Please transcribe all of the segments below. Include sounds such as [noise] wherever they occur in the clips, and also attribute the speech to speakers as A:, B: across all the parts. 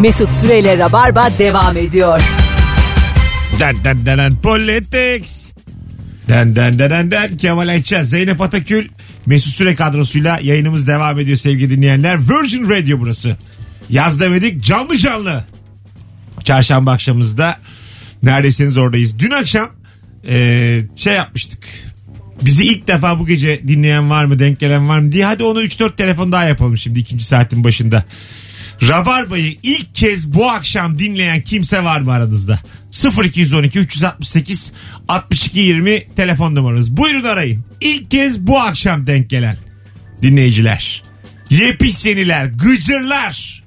A: Mesut Süreyle Rabarba devam ediyor.
B: Den den den den politics. Den den den den den Kemal Ayça, Zeynep Atakül, Mesut Süre kadrosuyla yayınımız devam ediyor sevgili dinleyenler. Virgin Radio burası. Yaz demedik canlı canlı. Çarşamba akşamımızda neredeyseniz oradayız. Dün akşam eee, şey yapmıştık. Bizi ilk defa bu gece dinleyen var mı denk gelen var mı diye hadi onu 3-4 telefon daha yapalım şimdi ikinci saatin başında. Rabarba'yı ilk kez bu akşam dinleyen kimse var mı aranızda? 0212 368 62 20 telefon numaranız. Buyurun arayın. İlk kez bu akşam denk gelen dinleyiciler. Yepis yeniler, gıcırlar.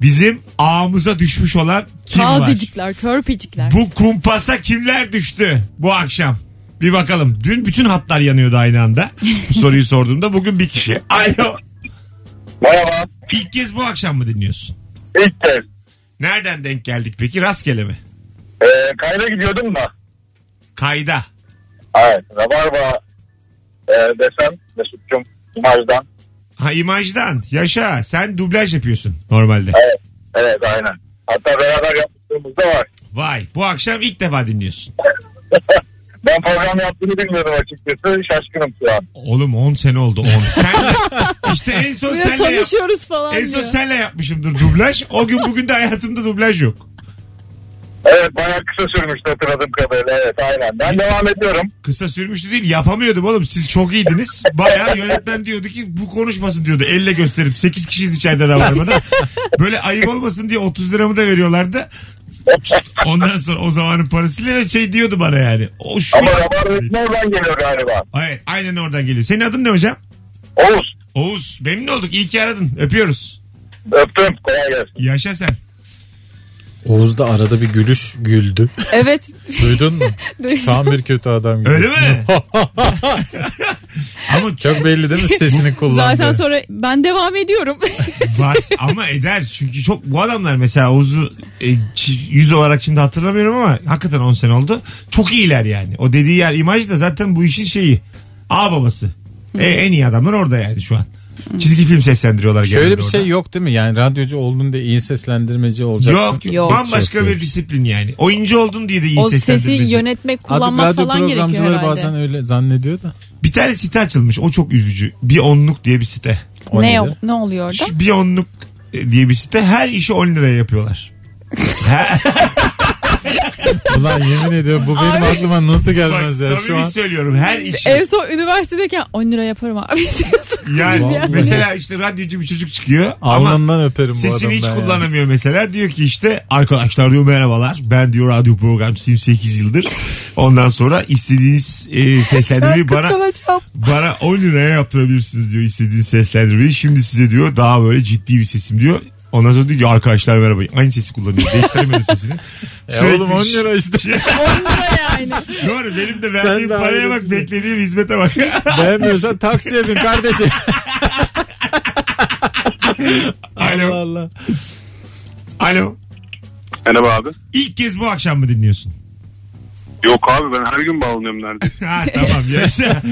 B: Bizim ağımıza düşmüş olan kim var?
C: Tazecikler, körpecikler.
B: Bu kumpasa kimler düştü bu akşam? Bir bakalım. Dün bütün hatlar yanıyordu aynı anda. Bu soruyu sorduğumda bugün bir kişi. Alo.
D: Merhaba.
B: İlk kez bu akşam mı dinliyorsun?
D: İlk kez.
B: Nereden denk geldik peki? Rastgele mi?
D: Ee, kayda gidiyordum da.
B: Kayda.
D: Evet. Rabarba e, desem Mesut'cum imajdan.
B: Ha imajdan. Yaşa. Sen dublaj yapıyorsun normalde.
D: Evet. Evet aynen. Hatta beraber yaptığımız da var. [laughs]
B: Vay. Bu akşam ilk defa dinliyorsun.
D: Ben program yaptığını bilmiyordum açıkçası. Şaşkınım şu an.
B: Oğlum 10 sene oldu 10. Sen işte en son
C: Böyle
B: senle yap-
C: tanışıyoruz falan
B: en son
C: diyor.
B: senle yapmışımdır dublaj. O gün bugün de hayatımda dublaj yok.
D: Evet bayağı kısa sürmüştü hatırladığım kadarıyla. Evet aynen. Ben devam ediyorum.
B: Kısa sürmüştü değil yapamıyordum oğlum siz çok iyiydiniz. Bayağı yönetmen diyordu ki bu konuşmasın diyordu elle gösterip 8 kişiyiz içeride ravarmada. Böyle ayıp olmasın diye 30 liramı da veriyorlardı. Ondan sonra o zamanın parasıyla ve şey diyordu bana yani. O şu
D: Ama Rabarba oradan geliyor galiba.
B: Evet, aynen oradan geliyor. Senin adın ne hocam?
D: Oğuz.
B: Oğuz memnun olduk iyi ki aradın öpüyoruz.
D: Öptüm. Kolay gelsin.
B: Yaşa sen.
E: Oğuz da arada bir gülüş
B: [laughs]
E: güldü.
C: Evet.
E: Duydun mu?
C: Duydum.
E: Tam bir kötü adam gibi.
B: Öyle mi? Ama çok
E: Çok belli değil mi
B: [laughs]
E: sesini kullandı?
C: Zaten sonra ben devam ediyorum.
B: bas ama eder çünkü çok bu adamlar mesela Oğuz'u e, çi- yüz olarak şimdi hatırlamıyorum ama hakikaten 10 sene oldu. Çok iyiler yani. O dediği yer imaj da zaten bu işin şeyi. A babası. E, en iyi adamlar orada yani şu an. Çizgi film seslendiriyorlar
E: Şöyle
B: genelde
E: bir şey
B: orada.
E: yok değil mi? Yani radyocu oldun diye iyi seslendirmeci olacaksın.
B: Yok,
C: Yok.
B: bambaşka
E: Çok şey
B: bir şey.
E: iyi.
B: disiplin yani. Oyuncu oldun diye de
C: [laughs]
B: iyi
C: o sesi
B: seslendirmeci.
C: yönetmek,
E: Artık
C: kullanmak
E: radyo
C: falan gerekiyor
E: programcıları
C: herhalde.
E: bazen öyle zannediyor da.
B: Bir tane site açılmış. O çok üzücü. Bir onluk diye bir site.
E: O
C: ne,
E: nedir?
C: ne oluyor orada?
B: Şu bir onluk e, diye bir site. Her işi 10 liraya yapıyorlar.
E: Ulan yemin ediyorum
B: [laughs]
E: bu benim
C: Abi.
E: aklıma nasıl
B: Bak,
E: gelmez ya şu
B: samimi şey-
E: an.
B: söylüyorum. Her işi.
C: En son üniversitedeyken 10 lira yaparım abi. [laughs]
B: Yani
E: Vallahi.
B: mesela işte radyocu bir çocuk çıkıyor ama
E: Alnından öperim bu adamı.
B: sesini hiç
E: ben yani.
B: kullanamıyor mesela. Diyor ki işte arkadaşlar diyor merhabalar. Ben diyor radyo programcısıyım 8 yıldır. Ondan sonra istediğiniz e, seslendirmeyi bana bana 10 liraya yaptırabilirsiniz diyor istediğiniz seslendirmeyi. Şimdi size diyor daha böyle ciddi bir sesim diyor. Ondan sonra diyor ki arkadaşlar merhaba. Aynı sesi kullanıyor. Değiştiremedi sesini.
E: [laughs] E oğlum
B: Sürekli
E: 10 lira işte.
C: 10 lira yani.
B: [laughs] Doğru benim de verdiğim
E: Sen de
B: paraya bak
E: aynısın.
B: beklediğim hizmete
E: [laughs]
B: bak.
E: Beğenmiyorsan taksiye bin kardeşim. Allah
B: [laughs] Alo.
E: Allah.
B: Alo.
F: Merhaba abi.
B: İlk kez bu akşam mı dinliyorsun?
F: Yok abi ben her gün bağlanıyorum neredeyse.
B: Ha tamam yaşa.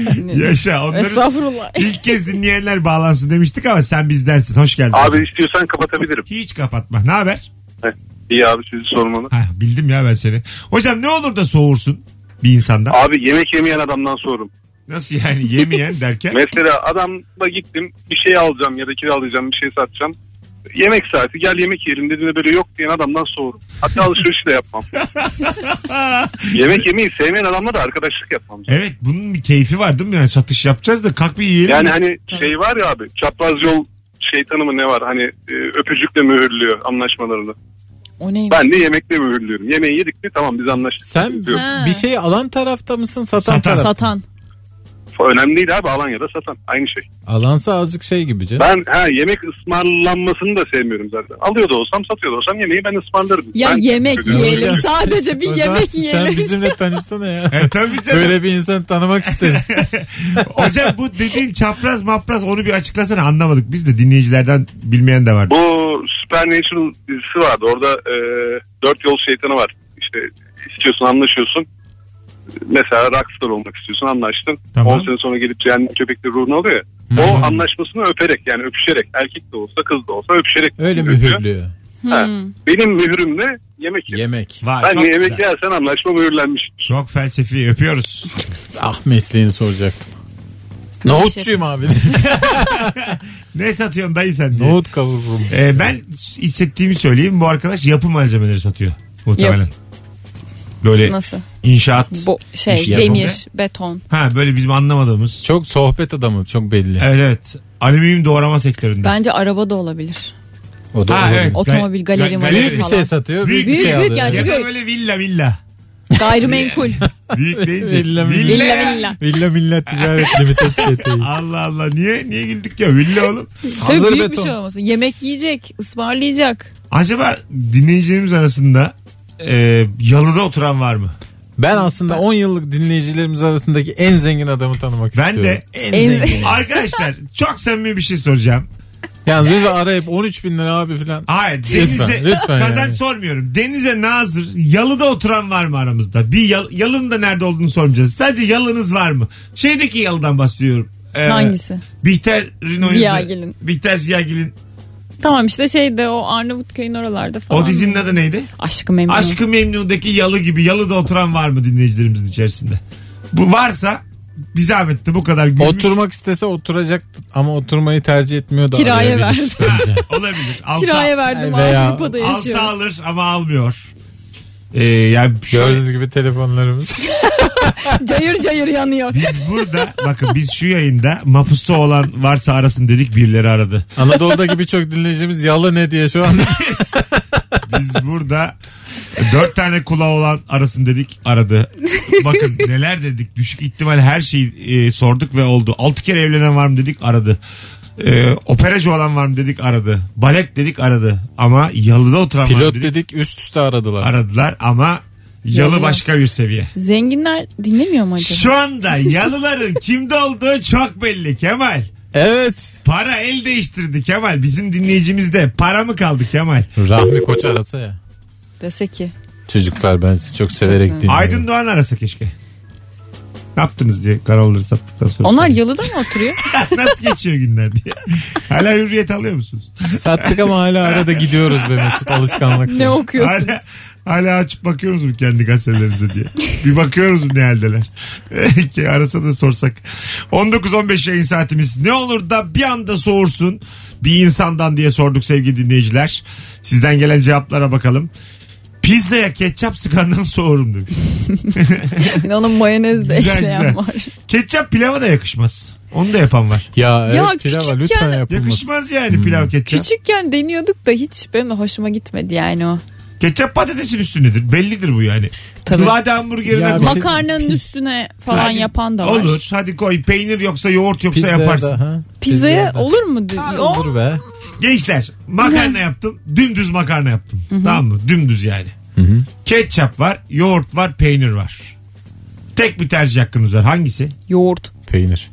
B: yaşa. Onları
C: Estağfurullah.
B: ilk kez dinleyenler bağlansın demiştik ama sen bizdensin. Hoş geldin.
F: abi istiyorsan kapatabilirim.
B: Hiç kapatma. Ne haber?
F: Heh, İyi abi sizi sormalı.
B: Ha, bildim ya ben seni. Hocam ne olur da soğursun bir insandan.
F: Abi yemek yemeyen adamdan sorum.
B: Nasıl yani
F: [laughs]
B: yemeyen derken?
F: Mesela adamla gittim bir şey alacağım ya da kiralayacağım bir şey satacağım. Yemek saati gel yemek yiyelim dediğinde böyle yok diyen adamdan sorum. Hatta alışveriş de yapmam. yemek yemeyi sevmeyen adamla da arkadaşlık yapmam.
B: evet bunun bir keyfi var değil mi? Yani satış yapacağız da kalk bir yiyelim.
F: Yani hani şey var ya abi çapraz yol şeytanı mı ne var hani e, öpücükle mühürlüyor anlaşmalarını.
C: O neymiş?
F: Ben de yemekle mühürlüyorum. Yemeği yedik mi tamam biz anlaştık.
E: Sen
F: diyorum.
C: Ha.
E: bir şey alan tarafta mısın satan,
B: Satan.
E: tarafta?
C: Satan.
F: Önemli değil abi alan ya da satan. Aynı şey.
E: Alansa azıcık şey gibi canım.
F: Ben ha, yemek ısmarlanmasını da sevmiyorum zaten. Alıyor da olsam satıyor da olsam yemeği ben ısmarlarım.
C: Ya
F: Ben-
C: yemek
F: Ben-
C: yiyelim.
E: Hocam,
C: Sadece bir
E: o
C: yemek
E: zaman
C: yiyelim.
E: Sen bizimle tanışsana
B: [laughs]
E: ya.
B: E, tabii canım.
E: Böyle bir insanı tanımak isteriz.
B: Hocam bu dediğin çapraz mapraz onu bir açıklasana anlamadık. Biz de dinleyicilerden bilmeyen de var.
F: Bu Supernatural dizisi vardı. Orada e, dört yol şeytanı var. İşte istiyorsun anlaşıyorsun. Mesela rockstar olmak istiyorsun anlaştın.
B: Tamam.
F: 10 sene sonra gelip cehennem köpekleri ruhunu alıyor ya. O anlaşmasını öperek yani öpüşerek erkek de olsa kız da olsa öpüşerek.
E: Öyle
F: öpüyor.
E: mühürlüyor.
F: Ha, Benim mührümle yemek yedim.
E: Yemek.
B: Vay,
F: Ben
B: çok,
F: yemek
B: güzel.
F: yersen anlaşma mühürlenmiş.
B: çok felsefi öpüyoruz.
E: Ah mesleğini soracaktım. Nohutçuyum abi. [laughs]
B: ne satıyorsun dayı sen diye.
E: Nohut kavururum.
B: Ee, ben hissettiğimi söyleyeyim. Bu arkadaş yapı malzemeleri satıyor muhtemelen. Böyle
C: Nasıl?
B: inşaat.
C: Bu şey
B: İş yapımı.
C: demir, beton.
B: ha böyle bizim anlamadığımız.
E: Çok sohbet adamı çok belli.
B: Evet evet. Alüminyum doğrama sektöründe.
C: Bence araba da olabilir.
E: O da
B: Ha,
E: olabilir.
B: evet.
C: Otomobil,
B: Ga-
C: galeri,
B: ga-
C: maleri
E: Büyük bir
C: falan.
E: şey satıyor. Büyük,
B: Büyük,
E: bir şey
C: büyük
E: alıyor.
C: yani.
B: Ya
C: Çünkü-
B: da böyle villa villa.
C: Gayrimenkul.
E: [laughs]
B: Büyük deyince.
E: Villa milla.
C: Villa villa.
E: [laughs] Villa Millet Ticaret Limited
C: [laughs]
E: şey şirketi.
B: Allah Allah niye niye güldük ya villa oğlum.
C: Tabii
E: Hazır
C: büyük bir
E: beton.
C: şey olmasın. Yemek yiyecek, ısmarlayacak.
B: Acaba dinleyicilerimiz arasında e, yalıda oturan var mı?
E: Ben aslında 10 yıllık dinleyicilerimiz arasındaki en zengin adamı tanımak
B: Ben
E: istiyorum.
B: de.
E: en,
C: En-
E: zengin.
B: Arkadaşlar çok samimi bir şey soracağım.
E: Yalnız bizi arayıp 13 bin lira abi filan.
B: Hayır
E: Lütfen,
B: denize [laughs]
E: lütfen
B: kazanç
E: yani.
B: sormuyorum. Denize nazır yalıda oturan var mı aramızda? Bir yal, yalının da nerede olduğunu sormayacağız. Sadece yalınız var mı? Şeydeki yalıdan bahsediyorum. Ee,
C: Hangisi?
B: Bihter'in oyunda.
C: Ziyagil'in.
B: Bihter Ziyagil'in.
C: Tamam işte şeyde o Arnavutköy'ün oralarda falan.
B: O dizinin adı neydi?
C: Aşkı Memnun.
B: Aşkı Memnu'daki yalı gibi yalıda oturan var mı dinleyicilerimizin içerisinde? Bu varsa bir zahmet de bu kadar gülmüş. [laughs]
E: Oturmak istese oturacak ama oturmayı tercih etmiyor da.
C: Kiraya
E: arayabilir
C: verdi.
E: bence.
B: Olabilir. Alsa,
C: Kiraya verdim.
E: Ay veya-
C: Avrupa'da
B: alsa
C: yaşıyorum. [laughs]
B: alır ama almıyor. Ee, yani şöyle,
E: [laughs] Gördüğünüz
C: [laughs]
E: gibi telefonlarımız.
C: Cayır cayır yanıyor.
B: biz burada bakın biz şu yayında mapusta olan varsa arasın dedik birileri aradı.
E: Anadolu'daki birçok dinleyicimiz yalı ne diye şu anda.
B: [laughs] Biz burada dört tane kulağı olan arasın dedik aradı. Bakın neler dedik düşük ihtimal her şeyi e, sorduk ve oldu. Altı kere evlenen var mı dedik aradı. E, operacı olan var mı dedik aradı. Balet dedik aradı. Ama yalıda oturan var mı
E: Pilot
B: dedik
E: dedik üst üste aradılar.
B: aradılar ama yalı
C: Yalı.
B: başka bir seviye.
C: Zenginler dinlemiyor mu acaba?
B: Şu anda yalıların kimde olduğu çok belli Kemal.
E: Evet.
B: Para el değiştirdi Kemal. Bizim dinleyicimizde para mı kaldı Kemal?
E: Rahmi Koç arasa ya.
C: Dese ki.
E: Çocuklar ben sizi çok severek
C: Çok
E: dinliyorum.
B: Aydın Doğan arasa keşke. Ne yaptınız diye kanalları sattıktan sonra.
C: Onlar yalıda mı oturuyor?
B: Nasıl geçiyor günler diye. Hala hürriyet alıyor musunuz?
E: Sattık ama hala arada gidiyoruz be Mesut alışkanlık.
C: ne okuyorsun? [laughs]
B: Hala, hala açıp bakıyoruz mu kendi gazetelerimize diye. Bir bakıyoruz mu ne haldeler. [laughs] Ki Arasa da sorsak. 19-15 yayın saatimiz. Ne olur da bir anda soğursun bir insandan diye sorduk sevgili dinleyiciler. Sizden gelen cevaplara bakalım. Pizzaya ketçap sıkandan soğurum demiş.
C: Onun mayonez de
B: Güzel,
C: ekleyen
B: güzel.
C: şey var.
B: Ketçap pilava da yakışmaz. Onu da yapan var.
E: Ya,
C: Ya
E: evet pilava
C: küçükken-
E: lütfen yapılmasın.
B: Yakışmaz yani pilav ketçap.
C: Küçükken deniyorduk da hiç benim de hoşuma gitmedi yani o.
B: Ketçap patatesin üstündedir. Bellidir bu yani.
C: Tabii.
B: Kıvade hamburgerine
E: Ya
B: koy.
E: bir şey-
C: Makarnanın üstüne falan
B: Hadi,
C: yapan da var.
B: Olur. Hadi koy. Peynir yoksa yoğurt yoksa
E: Pizzaya
B: şey yaparsın.
E: da, ha?
C: Pizzaya
E: da.
C: olur mu? diyor?
E: Ha,
C: O-
E: Olur be.
B: Gençler makarna yaptım. Dümdüz makarna yaptım. Tamam mı? Dümdüz yani. Ketçap var, yoğurt var, peynir var. Tek bir tercih hakkınız var. Hangisi?
C: Yoğurt.
E: Peynir.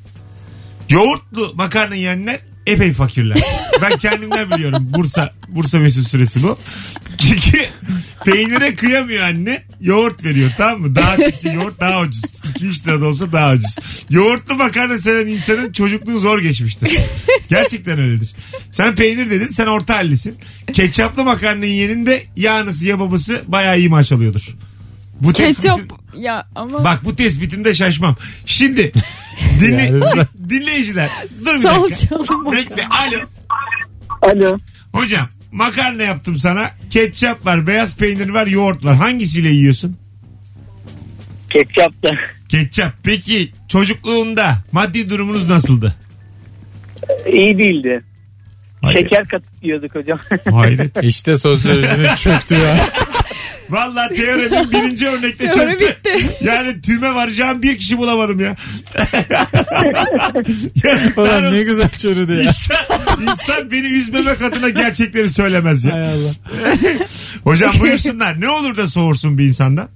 B: Yoğurtlu makarna yiyenler epey fakirler. ben kendimden biliyorum. Bursa Bursa mesut süresi bu. Çünkü peynire kıyamıyor anne. Yoğurt veriyor tamam mı? Daha çünkü yoğurt daha ucuz. 2-3 lira da olsa daha ucuz. Yoğurtlu makarna seven insanın çocukluğu zor geçmiştir. Gerçekten öyledir. Sen peynir dedin sen orta hallisin. Ketçaplı makarna yiyenin de ya anası ya babası bayağı iyi maaş alıyordur. Bu
C: Ketçap.
B: tespitin-
C: Ya ama
B: Bak bu tespitimde şaşmam.
E: [laughs]
B: Şimdi dinle,
E: Yani-
B: dinleyiciler dur bir dakika.
C: salçalı mı?
B: Bekle alo.
G: Alo.
B: Hocam makarna yaptım sana. Ketçap var, beyaz peynir var, yoğurt var. Hangisiyle yiyorsun?
G: [laughs] Ketçapla.
B: Ketçap. Peki çocukluğunda maddi durumunuz nasıldı?
G: İyi değildi.
B: Hayret.
G: Şeker katıp yiyorduk hocam. [laughs]
B: Hayret.
E: İşte sosyolojinin
B: [laughs]
E: çöktü ya.
B: Valla teoremin birinci örnekte
C: Teori
B: çöktü.
C: bitti.
B: Yani tüme varacağım bir kişi bulamadım
E: [laughs]
B: ya. Yazıklar
E: Ulan ne
B: olsun.
E: güzel çürüdü ya.
B: İnsan, insan beni üzmemek adına gerçekleri söylemez ya.
E: Hay Allah.
B: Hocam buyursunlar. Ne olur da soğursun bir insandan.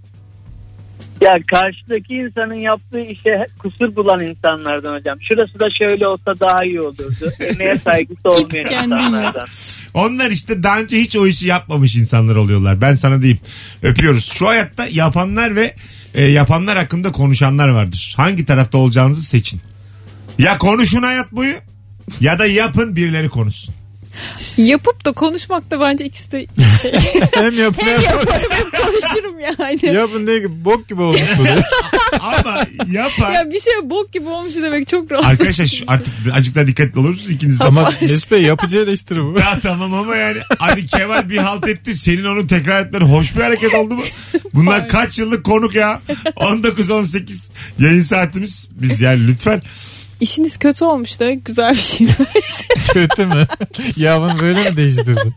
G: ya karşıdaki insanın yaptığı işe kusur bulan insanlardan hocam. Şurası da şöyle olsa daha iyi olurdu. Emeğe saygısı olmayan
C: kendin
G: insanlardan.
B: Onlar işte daha önce hiç o işi yapmamış insanlar oluyorlar. Ben sana diyeyim. Öpüyoruz. Şu hayatta yapanlar ve e, yapanlar hakkında konuşanlar vardır. Hangi tarafta olacağınızı seçin. Ya konuşun hayat boyu ya da yapın birileri konuşsun.
C: Yapıp da konuşmak da bence ikisi
B: [laughs]
C: de şey.
E: Hem yapın
C: hem
E: hem
C: yaparım hem konuşurum yani.
E: yapın diye ki bok gibi olmuş bu. diye.
B: Ama yapar.
C: Ya bir şey bok gibi olmuş demek çok rahat.
B: Arkadaşlar şu- artık azıcık daha dikkatli olur musunuz ikiniz de?
E: Ama Mesut Bey yapıcı eleştiri
B: [laughs]
E: bu.
B: Ya tamam ama yani hani Kemal bir halt etti senin onun tekrar etmen hoş bir hareket oldu mu? Bunlar kaç yıllık konuk ya 19-18 yayın saatimiz biz yani lütfen
C: İşiniz kötü olmuş demek güzel bir şey.
E: Kötü mü? Ya bunu böyle mi değiştirdin?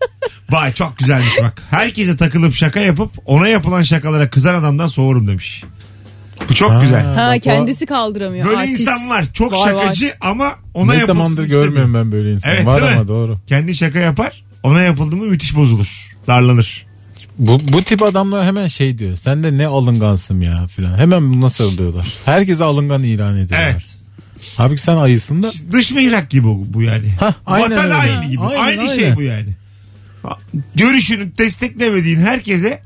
B: vay çok güzelmiş bak herkese takılıp şaka yapıp ona yapılan şakalara kızan adamdan soğurum demiş. Bu çok
E: Ha.
B: güzel.
C: ha
E: bak o-
C: kendisi kaldıramıyor.
B: Böyle
C: Artist.
B: insan var çok
C: Var,
B: şakacı ama ona
E: ne zamandır
B: yapılsın istemiyor.
E: görmüyorum ben böyle insan.
B: Evet,
E: Var
B: değil mi?
E: ama doğru.
B: Kendi şaka yapar ona yapıldı mı müthiş bozulur darlanır.
E: Bu, bu tip adamlar hemen şey diyor. Sen de ne alıngansın ya filan. Hemen buna sarılıyorlar. Herkese alıngan ilan ediyorlar.
B: Evet.
E: Halbuki sen ayısın da
B: dış mihrak gibi bu, bu yani.
E: Hah, aynen
B: Vatan
E: öyle.
B: haini gibi.
E: Aynen,
B: Aynı
E: aynen.
B: şey bu yani. Görüşünü desteklemediğin herkese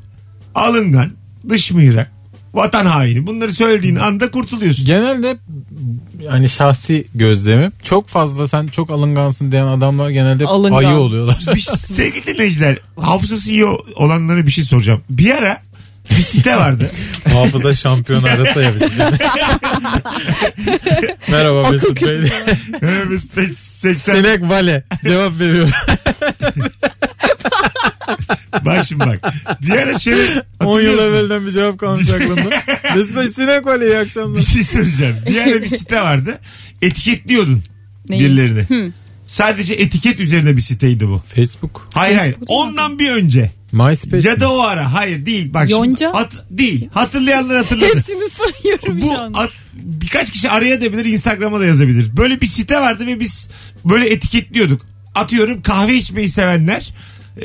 B: alıngan, dış mihrak, vatan haini. Bunları söylediğin anda kurtuluyorsun.
E: genelde yani şahsi gözlemim çok fazla sen çok alıngansın diyen adamlar genelde hep
C: Alıngan.
B: [laughs]
E: ayı oluyorlar.
B: Bir- şey- Sevgili dinleyiciler hafızası iyi olanlara bir şey soracağım. Bir ara bir site vardı.
E: [laughs] Hafıza şampiyonu arasa ya
B: [laughs]
E: bizi. Merhaba Mesut Bey.
B: Evet, Mesut Bey, 80
E: Sinek Vale cevap veriyor.
B: bak şimdi bak. Bir ara şöyle
E: 10
B: [laughs] hatırlıyor
E: yıl
B: musun?
E: evvelden bir cevap
B: [laughs]
E: kalmış aklımda. Mesut Bey Sinek Vale iyi akşamlar.
B: Bir şey söyleyeceğim. Bir ara bir site vardı. Etiketliyordun
C: Neyi?
B: birilerini. Sadece etiket üzerine bir siteydi bu.
E: Facebook.
B: Hayır hayır.
C: Facebook'ta
B: Ondan bir önce.
E: MySpace.
B: Ya da o ara. Hayır değil. Bak
C: Yonca?
B: şimdi. Hat- değil. Hatırlayanlar hatırladı.
C: Hepsini sayıyorum
B: Bu
E: şey
C: şu anda.
B: at- birkaç kişi araya da bilir, Instagram'a da yazabilir. Böyle bir site vardı ve biz böyle etiketliyorduk. Atıyorum kahve içmeyi sevenler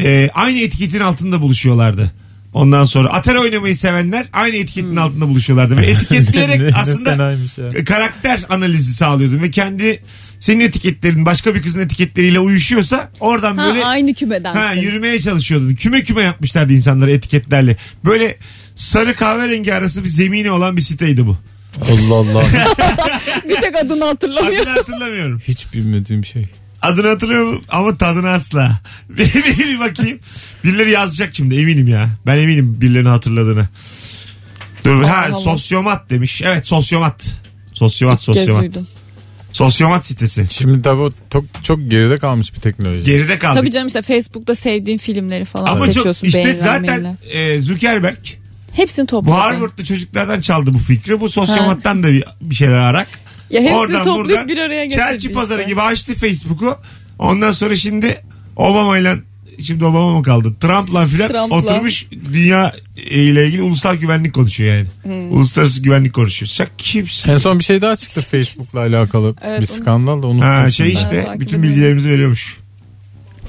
B: e, aynı etiketin altında buluşuyorlardı. Ondan sonra atar oynamayı sevenler aynı etiketin altında buluşuyorlardı. Ve etiketleyerek
E: Hmm. [laughs] Ne- ne
B: aslında
E: fenaymış ya.
B: karakter analizi sağlıyordun ve kendi senin etiketlerin başka bir kızın etiketleriyle uyuşuyorsa oradan
C: Ha,
B: böyle
C: aynı kümeden.
B: Ha yürümeye çalışıyordun. Küme küme yapmışlardı insanları etiketlerle. Böyle sarı kahverengi arası bir zemini olan bir
C: [laughs]
B: siteydi bu. [laughs]
E: Allah Allah.
C: bir tek adını hatırlamıyorum.
B: Adını hatırlamıyorum.
E: Hiç bilmediğim şey.
B: Adını hatırlıyorum ama tadını asla. [laughs] Bir, bir- bir bakayım. Birileri yazacak şimdi eminim ya. Ben eminim birilerini hatırladığını. Dur ha
C: Allah.
B: sosyomat demiş. Evet sosyomat. Sosyomat
C: Kez
B: sosyomat.
C: duydum.
B: Sosyomat sitesi.
E: Şimdi tabii o çok, çok geride kalmış bir teknoloji.
B: Geride kaldık.
C: Tabii canım işte Facebook'ta sevdiğin filmleri falan
B: ama çok
C: seçiyorsun.
B: işte
C: beğenilen,
B: zaten
C: beğenilen.
B: e, Zuckerberg
C: Hepsini
B: bu
C: topluyorsun.
B: Harvard'lı çocuklardan çaldı bu fikri. Bu sosyomattan da bir, bir şeyler arak.
C: Ya hepsini toplayıp
B: buradan
C: bir araya getirdi.
B: Çerçi pazarı
C: işte.
B: gibi açtı Facebook'u. Ondan sonra şimdi Obama'yla şimdi Obama mı kaldı? Trump'la filan
C: Trump'la.
B: oturmuş dünya e, ile ilgili ulusal güvenlik konuşuyor yani.
C: Hmm.
B: Uluslararası güvenlik konuşuyor. Sen kimsin?
E: En son bir şey
B: [laughs]
E: daha çıktı Facebook'la alakalı
C: Evet,
E: bir
C: onu-
E: skandal da unuttum.
B: Ha, şey
E: şimdi.
B: işte
C: takip
B: bütün
C: ediyorum.
B: bilgilerimizi veriyormuş.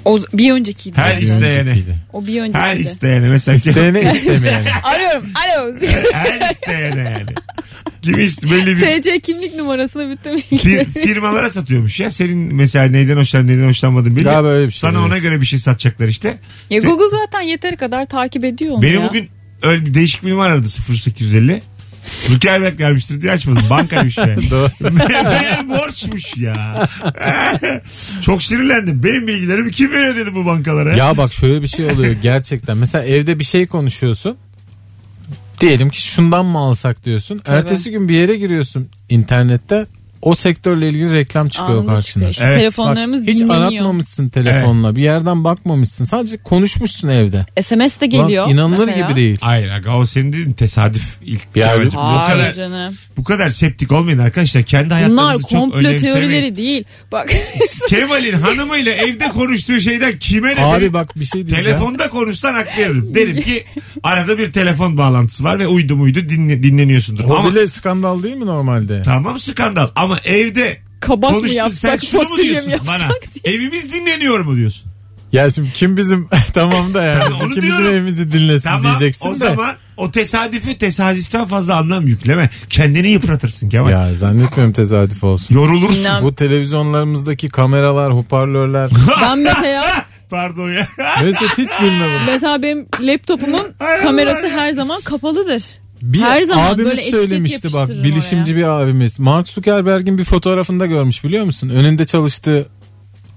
C: O bir öncekiydi.
B: Her
C: yani.
B: izle- isteyene. [laughs]
E: Öncekiydi.
C: O bir öncekiydi.
B: Her isteyene mesela.
E: İsteyene istemeyene.
C: Arıyorum. Alo. [laughs]
B: Her isteyene yani. Kim ist belli bir
C: TC kimlik numarasını bütün
B: fir-
C: bilgileri.
B: firmalara satıyormuş ya. Senin mesela neyden hoşlandın neyden hoşlanmadın belli.
E: Galiba öyle bir şey,
B: Sana ona
E: evet.
B: göre bir şey satacaklar işte.
C: Ya Google zaten yeteri kadar takip ediyor onu
B: Beni
C: ya.
B: bugün öyle bir değişik bir numara aradı 0850. Zuckerberg vermiştir diye açmadım. Bankaymış be.
E: [laughs] Doğru.
B: Meğer borçmuş ya. Çok sinirlendim. Benim bilgilerimi kim veriyor dedi bu bankalara.
E: ya bak şöyle bir şey oluyor gerçekten. Mesela evde bir şey konuşuyorsun. Diyelim ki şundan mı alsak diyorsun. Ertesi gün bir yere giriyorsun internette. O sektörle ilgili reklam çıkıyor
C: Anında
E: karşına.
C: çıkıyor işte.
B: Evet.
C: Telefonlarımız
E: Hiç
C: dinleniyor.
E: aratmamışsın telefonla. Bir yerden bakmamışsın. Sadece konuşmuşsun evde.
C: SMS de
E: Lan
C: geliyor.
E: inanılır
C: mesela. [laughs]
E: gibi değil.
B: Hayır aga o senin dedin tesadüf ilk
E: Bir
B: Kemal'cim.
E: ayrı-
B: bu
C: Hayır
B: kadar
C: canım.
B: bu kadar septik olmayın arkadaşlar kendi
C: Bunlar
B: hayatlarınızı çok
C: komplo
B: önemsemeyin.
C: teorileri değil.
E: [laughs]
C: Bak
B: Kemal'in hanımıyla evde konuştuğu şeyden kime ne
E: Abi
B: benim-
E: bak bir şey diyeceğim.
B: Telefonda konuşsan hak veririm. Derim ki arada bir telefon bağlantısı var ve uydu muydu dinle, dinleniyorsundur.
E: O
B: Ama
E: bile skandal değil mi normalde?
B: Tamam skandal ama evde
C: kabak mı
B: konuştun sen
C: yapsak,
B: şunu mu
C: fasulye
B: diyorsun
C: mi yapsak?
B: bana? Evimiz dinleniyor mu diyorsun?
E: Ya şimdi kim bizim [laughs] tamam da yani
B: Tamam, onu
E: kim
B: diyorum.
E: bizim evimizi dinlesin
B: Tamam
E: diyeceksin
B: o
E: de.
B: zaman o tesadüfü tesadüften fazla anlam yükleme. Kendini yıpratırsın Kemal.
E: Ya zannetmiyorum tesadüf olsun.
B: Yorulursun.
C: İnan-
E: Bu televizyonlarımızdaki kameralar,
B: [laughs]
E: hoparlörler.
C: Ben mesela
B: Pardon
E: [laughs]
B: ya.
E: Mesut hiç bilme bunu.
C: mesela benim
E: [laughs]
C: laptopumun
B: Hay
C: kamerası
B: Allah ya.
C: her zaman kapalıdır.
E: Bir
C: Her zaman
E: abimiz
C: böyle etiket
E: söylemişti bak
C: yapıştırırım
E: bilişimci bir abimiz. Mark Zuckerberg'in bir fotoğrafında görmüş biliyor musun? Önünde çalıştığı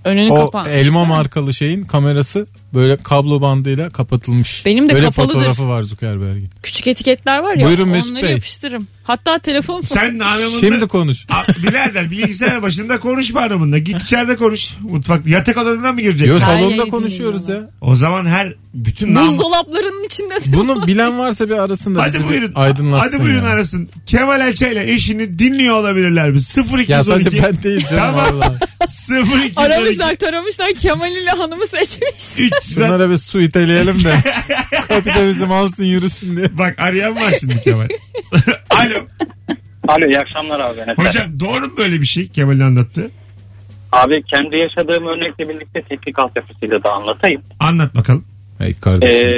C: Önünü
E: o
C: kapan.
E: elma markalı şeyin kamerası böyle kablo bandıyla kapatılmış.
C: Benim de
E: Böyle
C: kapalıdır.
E: fotoğrafı var Zuckerberg'in.
C: Küçük etiketler var ya.
E: Buyurun Mesut
C: onları
E: Bey.
C: yapıştırırım. Hatta telefon
B: Sen hanımınla...
E: Şimdi konuş.
B: A- Birader bilgisayar başında konuşma hanımınla. Git içeride konuş. Mutfakta. Yatak odanına mı girecek?
E: Yo
C: Hikayeyi
E: salonda
C: dinliyorum
E: konuşuyoruz
C: ben.
E: ya.
B: O zaman her bütün nam...
C: buzdolaplarının içinde de.
E: Bunu bilen varsa bir arasın da bizi
B: Hadi
E: bir
B: buyurun.
E: aydınlatsın.
B: Hadi buyurun
E: ya.
B: arasın. Kemal Ayça ile eşini dinliyor olabilirler mi? 0212.
E: Ya sadece
B: [laughs]
E: ben değil canım
B: Tamam.
E: valla.
B: 0212.
C: Aramışlar taramışlar Kemal ile hanımı
B: [laughs]
C: seçmiş.
B: 300.
E: Bunlara bir su
B: [laughs]
E: iteleyelim de kapitalizm alsın yürüsün diye.
B: Bak arayan var şimdi Kemal. Alo.
F: Alo iyi akşamlar abi.
B: Hocam doğru mu böyle bir şey Kemal'in anlattığı?
F: Abi kendi yaşadığım örnekle birlikte teknik altyapısıyla da anlatayım.
B: Anlat bakalım.
E: Hey
F: Ee,
E: kardeşim.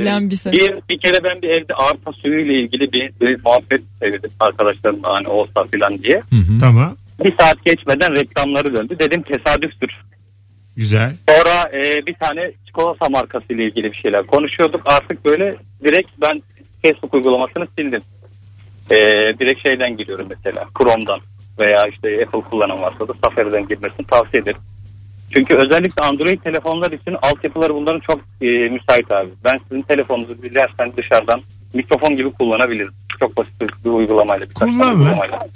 C: Bilen bir sen.
F: bir, bir kere ben bir evde arpa suyuyla ilgili bir, bir muhabbet seyredim arkadaşlarımla hani olsa filan diye.
E: Hı hı.
B: Tamam.
F: Bir saat geçmeden reklamları döndü. Dedim tesadüftür.
B: Güzel.
F: Sonra e, bir tane çikolata markasıyla ilgili bir şeyler konuşuyorduk. Artık böyle direkt ben Facebook uygulamasını sildim. E, direkt şeyden giriyorum mesela Chrome'dan veya işte Apple kullanan varsa da Safari'den girmesini tavsiye ederim. Çünkü özellikle Android telefonlar için altyapıları bunların çok e, müsait abi. Ben sizin telefonunuzu dilerseniz dışarıdan mikrofon gibi kullanabilirim. Çok basit bir uygulamayla. Bir
B: Kullan lan.
F: uygulamayla.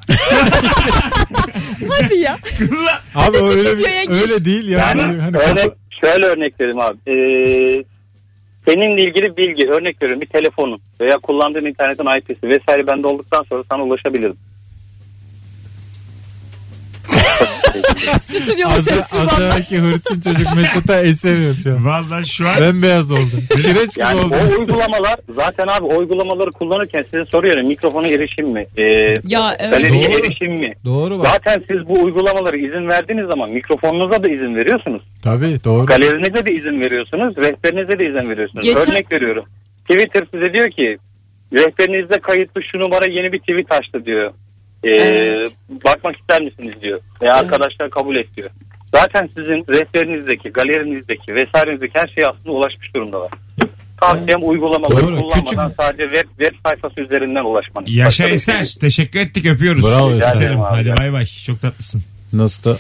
C: Hadi ya.
E: Abi
C: Hadi
E: öyle,
C: stüdyoya gir.
E: bir, öyle değil ya.
F: Yani
E: Yani, hani
F: örnek, şöyle örnek vereyim abi. Ee, seninle ilgili bilgi örnek veriyorum bir telefonun veya kullandığın internetin IP'si vesaire bende olduktan sonra sana ulaşabilirim.
C: Stüdyonun
E: az,
C: sessiz anda.
E: azdaki hırçın çocuk Mesut'a eser yok şu an.
B: Vallahi şu an
E: Bembeyaz oldu. Kireç gibi
F: Yani
E: oldu.
F: o uygulamalar zaten abi o uygulamaları kullanırken size soruyorum mikrofona erişim mi? Ee,
C: Ya evet.
F: galeriye
E: Doğru.
F: erişim mi?
E: Doğru bak.
F: Zaten siz bu uygulamalara izin verdiğiniz zaman mikrofonunuza da izin veriyorsunuz.
E: Tabii doğru.
F: Galerinize de izin veriyorsunuz, rehberinize de izin veriyorsunuz.
C: Geçen-
F: Örnek veriyorum. Twitter size diyor ki rehberinizde kayıtlı şu numara yeni bir tweet açtı diyor. Ee,
C: Evet.
F: Bakmak ister misiniz diyor. Ve arkadaşlar kabul et diyor. Zaten sizin rehberinizdeki, galerinizdeki vesairenizdeki her şey aslında ulaşmış durumdalar. Tavsiyem uygulamaları
E: Doğru,
F: kullanmadan
E: küçük-
F: sadece web, web sayfası üzerinden ulaşmanız.
B: Yaşa
F: Başka bir
B: Eser.
F: şey
B: Teşekkür ettik öpüyoruz.
E: Bravo Rica Eser.
F: ederim abi.
B: Hadi bay bay. Çok tatlısın.
E: Nasıl da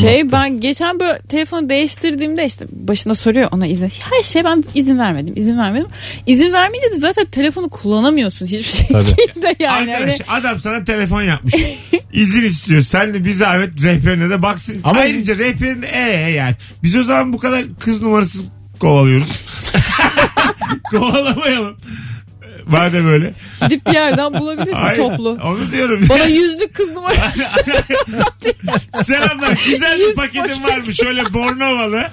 C: Şey ben geçen böyle telefonu değiştirdiğimde işte başına soruyor ona izin. Her şey ben izin vermedim izin vermedim. İzin vermeyince de zaten telefonu kullanamıyorsun hiçbir şekilde yani. Hani
B: Arkadaş adam sana telefon yapmış. İzin istiyor. Sen de bir zahmet rehberine de baksın.
E: Ama-
B: Ayrıca rehberin ee yani. Biz o zaman bu kadar kız numarası kovalıyoruz. [laughs] Kovalamayalım. Madem öyle.
C: Hani gidip bir yerden bulabilirsin
B: Hayır,
C: toplu.
B: Onu diyorum.
C: Bana
B: [laughs]
C: yüzlük kız numarası.
B: Selamlar. Güzel bir
C: Yüz
B: paketim
C: paket.
B: var mı? Şöyle Bornovalı.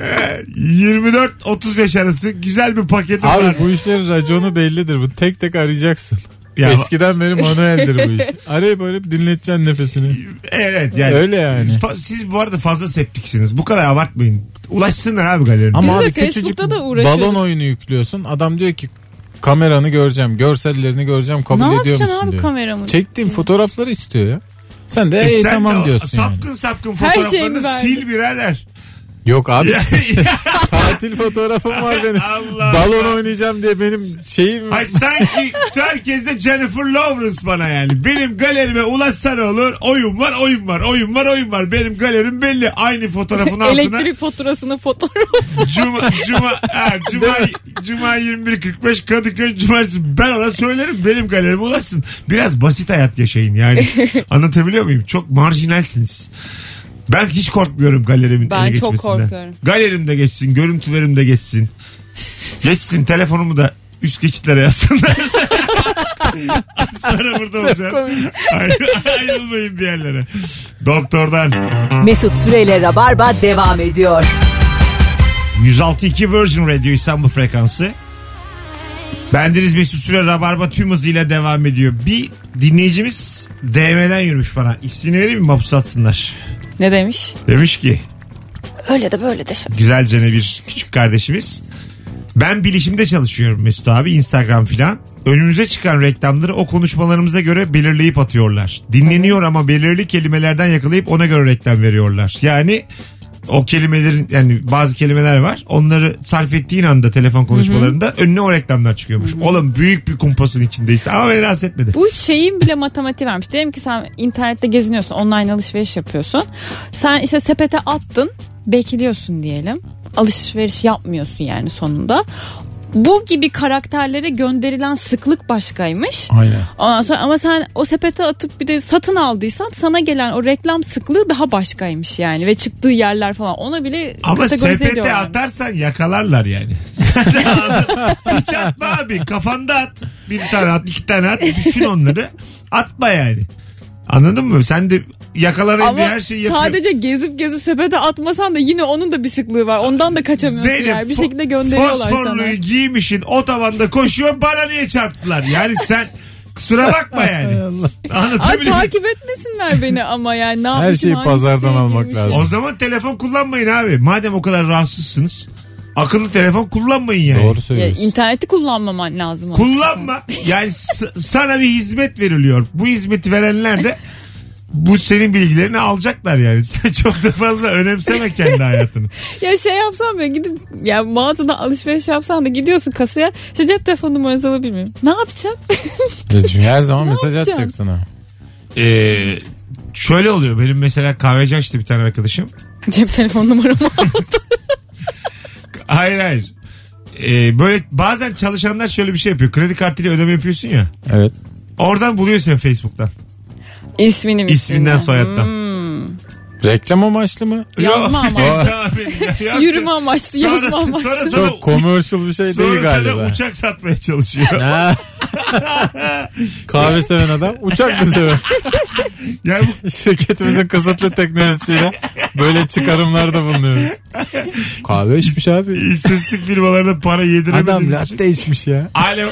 B: Ee, 24-30 yaş arası güzel bir paketim var.
E: Abi bu işlerin raconu bellidir. Bu tek tek arayacaksın.
B: Ya-
E: Eskiden beri manueldir bu iş. Arayıp arayıp dinleteceksin nefesini.
B: Evet yani.
E: Öyle yani.
B: Fa- Siz bu arada fazla septiksiniz. Bu kadar abartmayın. Ulaşsınlar abi galerine.
E: Ama
C: Biz de
E: abi küçücük
C: Facebook'ta da uğraşıyorduk.
E: balon oyunu yüklüyorsun. Adam diyor ki kameranı göreceğim, görsellerini göreceğim kabul
C: ne
E: ediyor
C: yapacaksın
E: musun
C: abi
E: diyor.
C: kameramı?
E: Çektiğim fotoğrafları istiyor ya. Sen de
B: E
E: "Ey,
B: sen de
E: tamam
B: o
E: diyorsun yani.
B: Sapkın sapkın
C: Her
B: fotoğraflarını
C: şeyimi verdi.
B: sil
C: [laughs]
B: birader.
E: Yok abi
B: Ya-
E: [laughs] tatil fotoğrafım var benim.
B: [laughs] Allah
E: balon
B: Allah.
E: oynayacağım diye benim şeyim
B: Ay sanki herkes de Jennifer Lawrence bana yani. Benim galerime ulaşsan olur. Oyun var, oyun var, oyun var, oyun var. Benim galerim belli. Aynı fotoğrafın altına.
C: [laughs] Elektrik faturasının fotoğrafı.
B: Cuma, cuma, ha, cuma, cuma 21.45 Kadıköy Cumartesi. Ben ona söylerim benim galerime ulaşsın. Biraz basit hayat
C: [laughs]
B: yaşayın yani. Anlatabiliyor muyum? Çok marjinalsiniz. Ben hiç korkmuyorum galerimin
C: Ben
B: ele
C: çok
B: geçmesinden.
C: korkuyorum.
B: Galerim de geçsin, görüntülerim de geçsin. Geçsin telefonumu da üst geçitlere
C: [laughs]
B: yazsınlar. Az Sonra burada olacağım. Ayrı- [laughs] ayrılmayın bir yerlere. Doktordan.
H: Mesut Süreyle Rabarba devam ediyor.
B: 106.2 Virgin Radio İstanbul frekansı. Bendeniz Mesut Süre Rabarba tüm hızıyla devam ediyor. Bir dinleyicimiz DM'den yürümüş bana. İsmini vereyim mi mahpus atsınlar.
C: ne demiş?
B: Demiş ki
C: Öyle de böyle de.
B: güzelcene bir küçük kardeşimiz. Ben bilişimde çalışıyorum Mesut abi Instagram filan. Önümüze çıkan reklamları o konuşmalarımıza göre belirleyip atıyorlar. Dinleniyor ama belirli kelimelerden yakalayıp ona göre reklam veriyorlar. Yani o kelimelerin yani bazı kelimeler var. Onları sarf ettiğin anda telefon konuşmalarında önüne o reklamlar çıkıyormuş. Oğlum büyük bir kumpasın içindeyiz ama beni rahatsız etmedi.
C: Bu şeyin bile matematiği vermiş. Diyelim ki sen internette geziniyorsun, online alışveriş yapıyorsun. Sen işte sepete attın, bekliyorsun diyelim. Alışveriş yapmıyorsun yani sonunda. Bu gibi karakterlere gönderilen sıklık başkaymış.
E: Aynen.
C: Ondan sonra ama sen o sepete atıp bir de satın aldıysan sana gelen o reklam sıklığı daha başkaymış yani ve çıktığı yerler falan ona bile
B: Ama
C: kategorize
B: sepete
C: ediyorlar.
B: atarsan yakalarlar yani. [laughs] Sen de aldın. Hiç atma abi. Kafanda at. Bir tane at, iki tane at. Düşün onları. Atma yani. Anladın mı? Sen de yakalarım
C: Ama
B: diye her şeyi yapıyorsun.
C: sadece gezip gezip sepete atmasan da yine onun da bir sıklığı var. Ondan da kaçamıyorsun
B: Zeynep,
C: yani. Bir
B: fo-
C: şekilde gönderiyorlar sana.
B: Fosforluyu giymişin o tavanda koşuyor bana niye çarptılar? Yani sen kusura bakma yani.
C: [laughs] Ay
B: Anlatabiliyor muyum?
C: takip etmesinler beni ama yani ne
E: Her
C: yapmışım,
E: şeyi
C: hangi
E: pazardan
C: siteye
E: almak
C: girmişim.
E: lazım.
B: O zaman telefon kullanmayın abi. Madem o kadar rahatsızsınız. Akıllı telefon kullanmayın yani.
E: Doğru
C: Ya,
E: söylüyorsun.
C: interneti kullanmaman lazım. onun.
B: Kullanma. Yani s- sana bir hizmet veriliyor. Bu hizmeti verenler de bu senin bilgilerini alacaklar yani. [laughs] Sen çok da fazla önemseme kendi hayatını.
C: Ya şey yapsam ya gidip ya mağazadan alışveriş yapsan da gidiyorsun kasaya işte cep telefonu numaranızı alabilir miyim? Ne yapacağım? [laughs]
E: Ya, çünkü her zaman mesaj
C: yapacaksın?
E: atacak sana.
B: Ee, şöyle oluyor. Benim mesela kahveci açtı bir tane arkadaşım.
C: cep telefon numaramı
B: [laughs]
C: al.
B: Hayır hayır. Ee, böyle bazen çalışanlar şöyle bir şey yapıyor. Kredi kartıyla ödeme yapıyorsun ya.
E: Evet.
B: Oradan buluyor seni Facebook'tan.
C: İsmini mi?
B: İsminden, soyadından.
C: Hmm.
E: Reklam amaçlı mı?
C: Yazma
B: [laughs]
C: ama. Yürüme amaçlı
B: Sonra-
C: yazma amaçlı.
B: sonra- sonra-
E: Çok commercial bir şey değil
B: Sonra sana
E: galiba.
B: uçak satmaya çalışıyor.
E: [laughs]
B: [laughs]
E: Ha. Kahve seven adam uçak da seven.
B: yani bu
E: Şirketimizin kısıtlı teknolojisiyle böyle çıkarımlarda bulunuyoruz. Kahve içmiş abi.
B: istatistik firmalarına para yediremediğimiz
E: Adam
B: için-
E: latte içmiş ya.
B: Alo.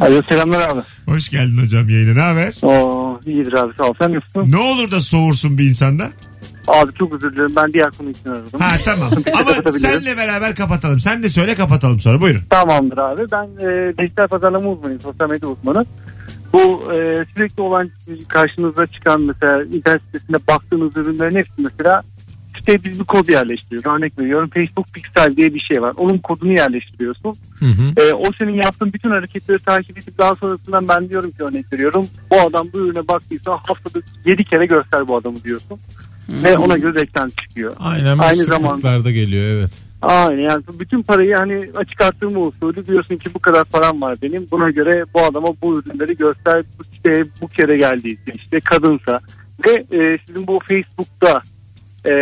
I: Alo selamlar abi.
B: Hoş geldin hocam yayına. Ne haber?
I: Oo, iyidir abi sağ ol. Sen nasılsın?
B: Ne olur da soğursun bir insanda.
I: Abi çok özür dilerim. Ben diğer konu için aradım.
C: [laughs]
B: Ha tamam. Ama
I: Kapatabilirim.
B: senle beraber kapatalım. Sen de söyle kapatalım sonra. Buyurun.
I: Tamamdır abi. Ben e, dijital pazarlama uzmanıyım. Sosyal medya uzmanı. Bu e, sürekli olan karşınıza çıkan mesela internet sitesinde baktığınız ürünlerin hepsi mesela siteye biz bir kodu yerleştiriyoruz. Örnek veriyorum Facebook Pixel diye bir şey var. Onun kodunu yerleştiriyorsun.
E: Hı hı.
I: E, o senin yaptığın bütün hareketleri takip edip daha sonrasından ben diyorum ki örnek veriyorum. Bu adam bu ürüne baktıysa haftada 7 kere göster bu adamı diyorsun. Ve ona göre reklam çıkıyor.
E: Aynen
I: Aynı
E: Aynı
I: zamanda.
E: sıklıklarda geliyor evet.
I: Aynen yani bütün parayı hani açık arttırma usulü diyorsun ki bu kadar param var benim. Buna göre bu adama bu ürünleri göster. Bu siteye bu kere geldiyse işte kadınsa. Ve e, sizin bu Facebook'ta e,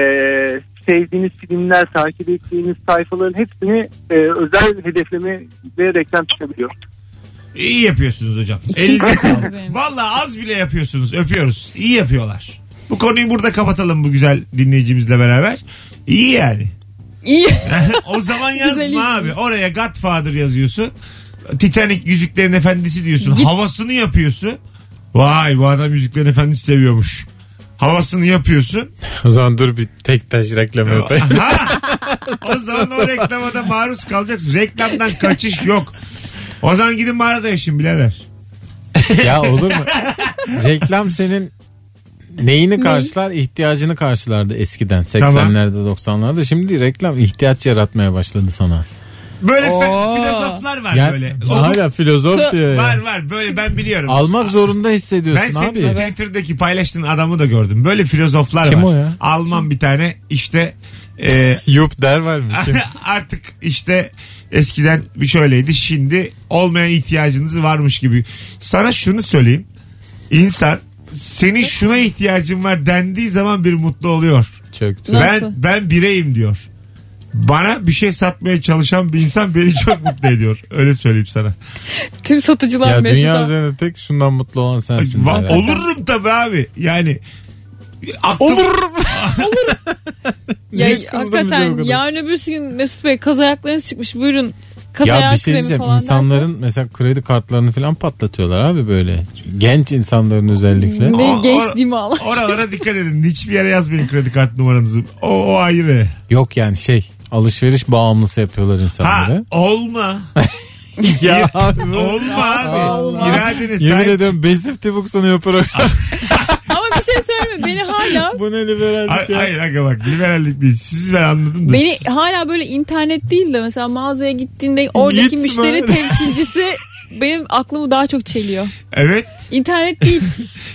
I: sevdiğiniz filmler, takip ettiğiniz sayfaların hepsini e, özel hedefleme ve reklam çıkabiliyor.
B: İyi yapıyorsunuz hocam.
C: İkinci
B: Elinize sağlık.
C: soru benim.
B: Valla az bile yapıyorsunuz. Öpüyoruz. İyi yapıyorlar. Bu konuyu burada kapatalım bu güzel dinleyicimizle beraber. İyi yani.
C: [laughs]
B: [laughs]
C: İyi.
B: o zaman
C: Güzel
B: yazma abi.
C: işmiş.
B: Oraya Godfather yazıyorsun. Titanic Yüzüklerin Efendisi diyorsun.
C: Git.
B: Havasını yapıyorsun. Vay bu adam Yüzüklerin Efendisi seviyormuş. Havasını yapıyorsun.
E: O zaman dur bir tek taş reklamı yapayım.
B: [laughs]
E: [laughs]
B: Ha! o zaman o reklama da maruz kalacaksın. Reklamdan kaçış yok. O zaman gidin mağarada yaşayın birader.
E: ya olur mu? Reklam senin neyini karşılar? İhtiyacını karşılardı eskiden. 80'lerde 90'larda. Şimdi reklam ihtiyaç yaratmaya başladı sana.
B: Böyle fe-
C: Oo.
B: filozoflar var
E: Ya,
B: böyle.
E: hala filozof
C: Tı-
E: diyor
B: Var
E: ya.
B: var böyle ben biliyorum.
E: Almak zorunda hissediyorsun
B: Ben senin
E: abi.
B: Twitter'daki paylaştığın adamı da gördüm. Böyle filozoflar
E: Kim
B: var.
E: o ya?
B: Alman bir tane işte e,
E: Yup der var mı? Kim?
B: [laughs] artık işte eskiden bir şöyleydi şimdi olmayan ihtiyacınız varmış gibi. Sana şunu söyleyeyim. İnsan senin şuna ihtiyacın var dendiği zaman bir mutlu oluyor.
E: Çöktü.
C: Nasıl?
B: Ben ben bireyim diyor. Bana bir şey satmaya çalışan bir insan beni çok mutlu ediyor. Öyle söyleyeyim sana.
C: Tüm satıcılar
E: Ya
C: Mesut'a.
E: dünya üzerinde tek şundan mutlu olan sensin.
B: Va-
E: der.
B: olurum tabii abi. Yani aklım-
C: Ya,
E: Niye kızdın bize o
C: hakikaten
E: kadar?
C: yarın öbürsü gün Mesut Bey kaz ayaklarınız çıkmış buyurun kaz
E: Ya
C: ayağı
E: bir şey
C: kremi
E: diyeceğim
C: falan
E: insanların mesela kredi kartlarını falan patlatıyorlar abi böyle. Genç insanların özellikle.
C: dersen.
B: O-
C: Ve
B: or-
C: gençliğimi
B: [laughs]
C: ağlar.
B: Oralara dikkat edin. Hiçbir yere yazmayın kredi kart numaranızı. O, o ayrı.
E: Yok yani şey alışveriş bağımlısı yapıyorlar
B: Ha
E: insanları.
B: olma.
E: [laughs] Ya abi.
B: Olma abi.
E: Allah.
B: İradene
E: Yemin
B: sahip [laughs]
E: ediyorum Besif Tibuk sunuyor program.
C: Ama bir bir şey söyleme. Beni hala
E: Bu ne liberallik
B: Ay-
E: ya?
B: Hayır aga bak liberallik değil. Siz ben anladım da.
C: beni hala böyle internet değil de mesela mağazaya gittiğinde oradaki
E: Gitme.
C: müşteri temsilcisi benim aklımı daha çok çeliyor.
B: Evet.
C: İnternet değil.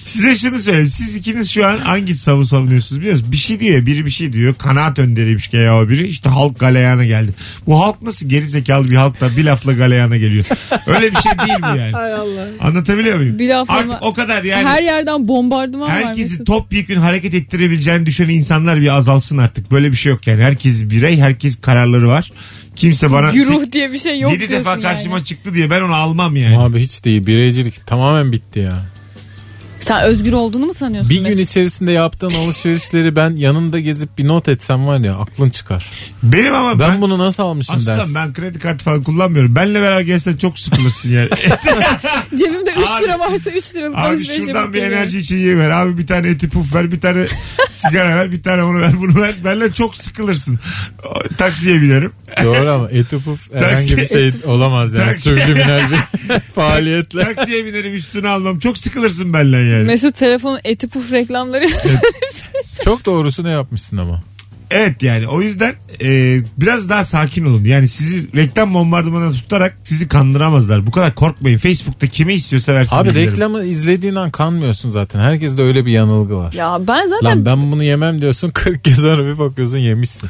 B: Size şunu söyleyeyim. Siz ikiniz şu an hangi savun savunuyorsunuz biliyor musunuz? Bir şey diyor. Biri bir şey diyor. Kanaat önderiymiş ki ya o biri. İşte halk galeyana geldi. Bu halk nasıl geri zekalı bir halkla bir lafla galeyana geliyor. Öyle bir şey değil
C: [laughs]
B: mi yani?
E: Hay Allah.
B: Anlatabiliyor muyum?
C: Bir lafla
B: Artık
C: mı?
B: o kadar [laughs] yani.
C: Her yerden bombardıman var.
B: Herkesi
C: Mesut.
B: topyekün hareket ettirebileceğini düşünen insanlar bir azalsın artık. Böyle bir şey yok yani. Herkes birey, herkes kararları var. Kimse bana
C: Güruh diye bir şey yok
B: 7
C: diyorsun
B: defa karşıma
C: yani.
B: çıktı diye ben onu almam yani.
E: Abi hiç değil bireycilik tamamen bitti ya.
C: Sen özgür olduğunu mu sanıyorsun?
E: Bir gün
C: Mesut?
E: içerisinde yaptığın alışverişleri ben yanında gezip bir not etsem var ya aklın çıkar.
B: Benim ama ben,
E: Ben bunu nasıl almışım
B: Aslan
E: dersin.
B: ben kredi kartı falan kullanmıyorum. Benle beraber gelsen çok
C: [laughs]
B: sıkılırsın yani.
C: Cebimde 3
B: Abi-
C: lira varsa 3 liralık
B: abi
C: alışveriş
B: şuradan
C: yapıp
B: bir
C: geliyorum.
B: enerji içeceği ver. Abi bir tane eti puf ver. Bir tane
C: [laughs]
B: sigara ver. Bir tane onu ver. Bunu ver. Benle çok sıkılırsın. O, Taksiye binerim.
E: Doğru ama etupuf herhangi bir şey olamaz yani.
B: Taksi-
E: Sübliminal [laughs] bir faaliyetle.
B: Taksiye binerim üstüne almam. Çok sıkılırsın benle yani.
C: Mesut telefonun eti puf reklamları.
B: [laughs]
E: Çok doğrusunu yapmışsın ama.
B: Evet yani o yüzden e, biraz daha sakin olun. Yani sizi reklam bombardımanına tutarak sizi kandıramazlar. Bu kadar korkmayın. Facebook'ta kimi istiyorsa versin.
E: Abi
B: bilgileri.
E: reklamı izlediğin an kanmıyorsun zaten. Herkeste öyle bir yanılgı var.
C: ya ben zaten
E: Lan ben bunu yemem diyorsun [laughs] 40 gün sonra bir bakıyorsun yemişsin.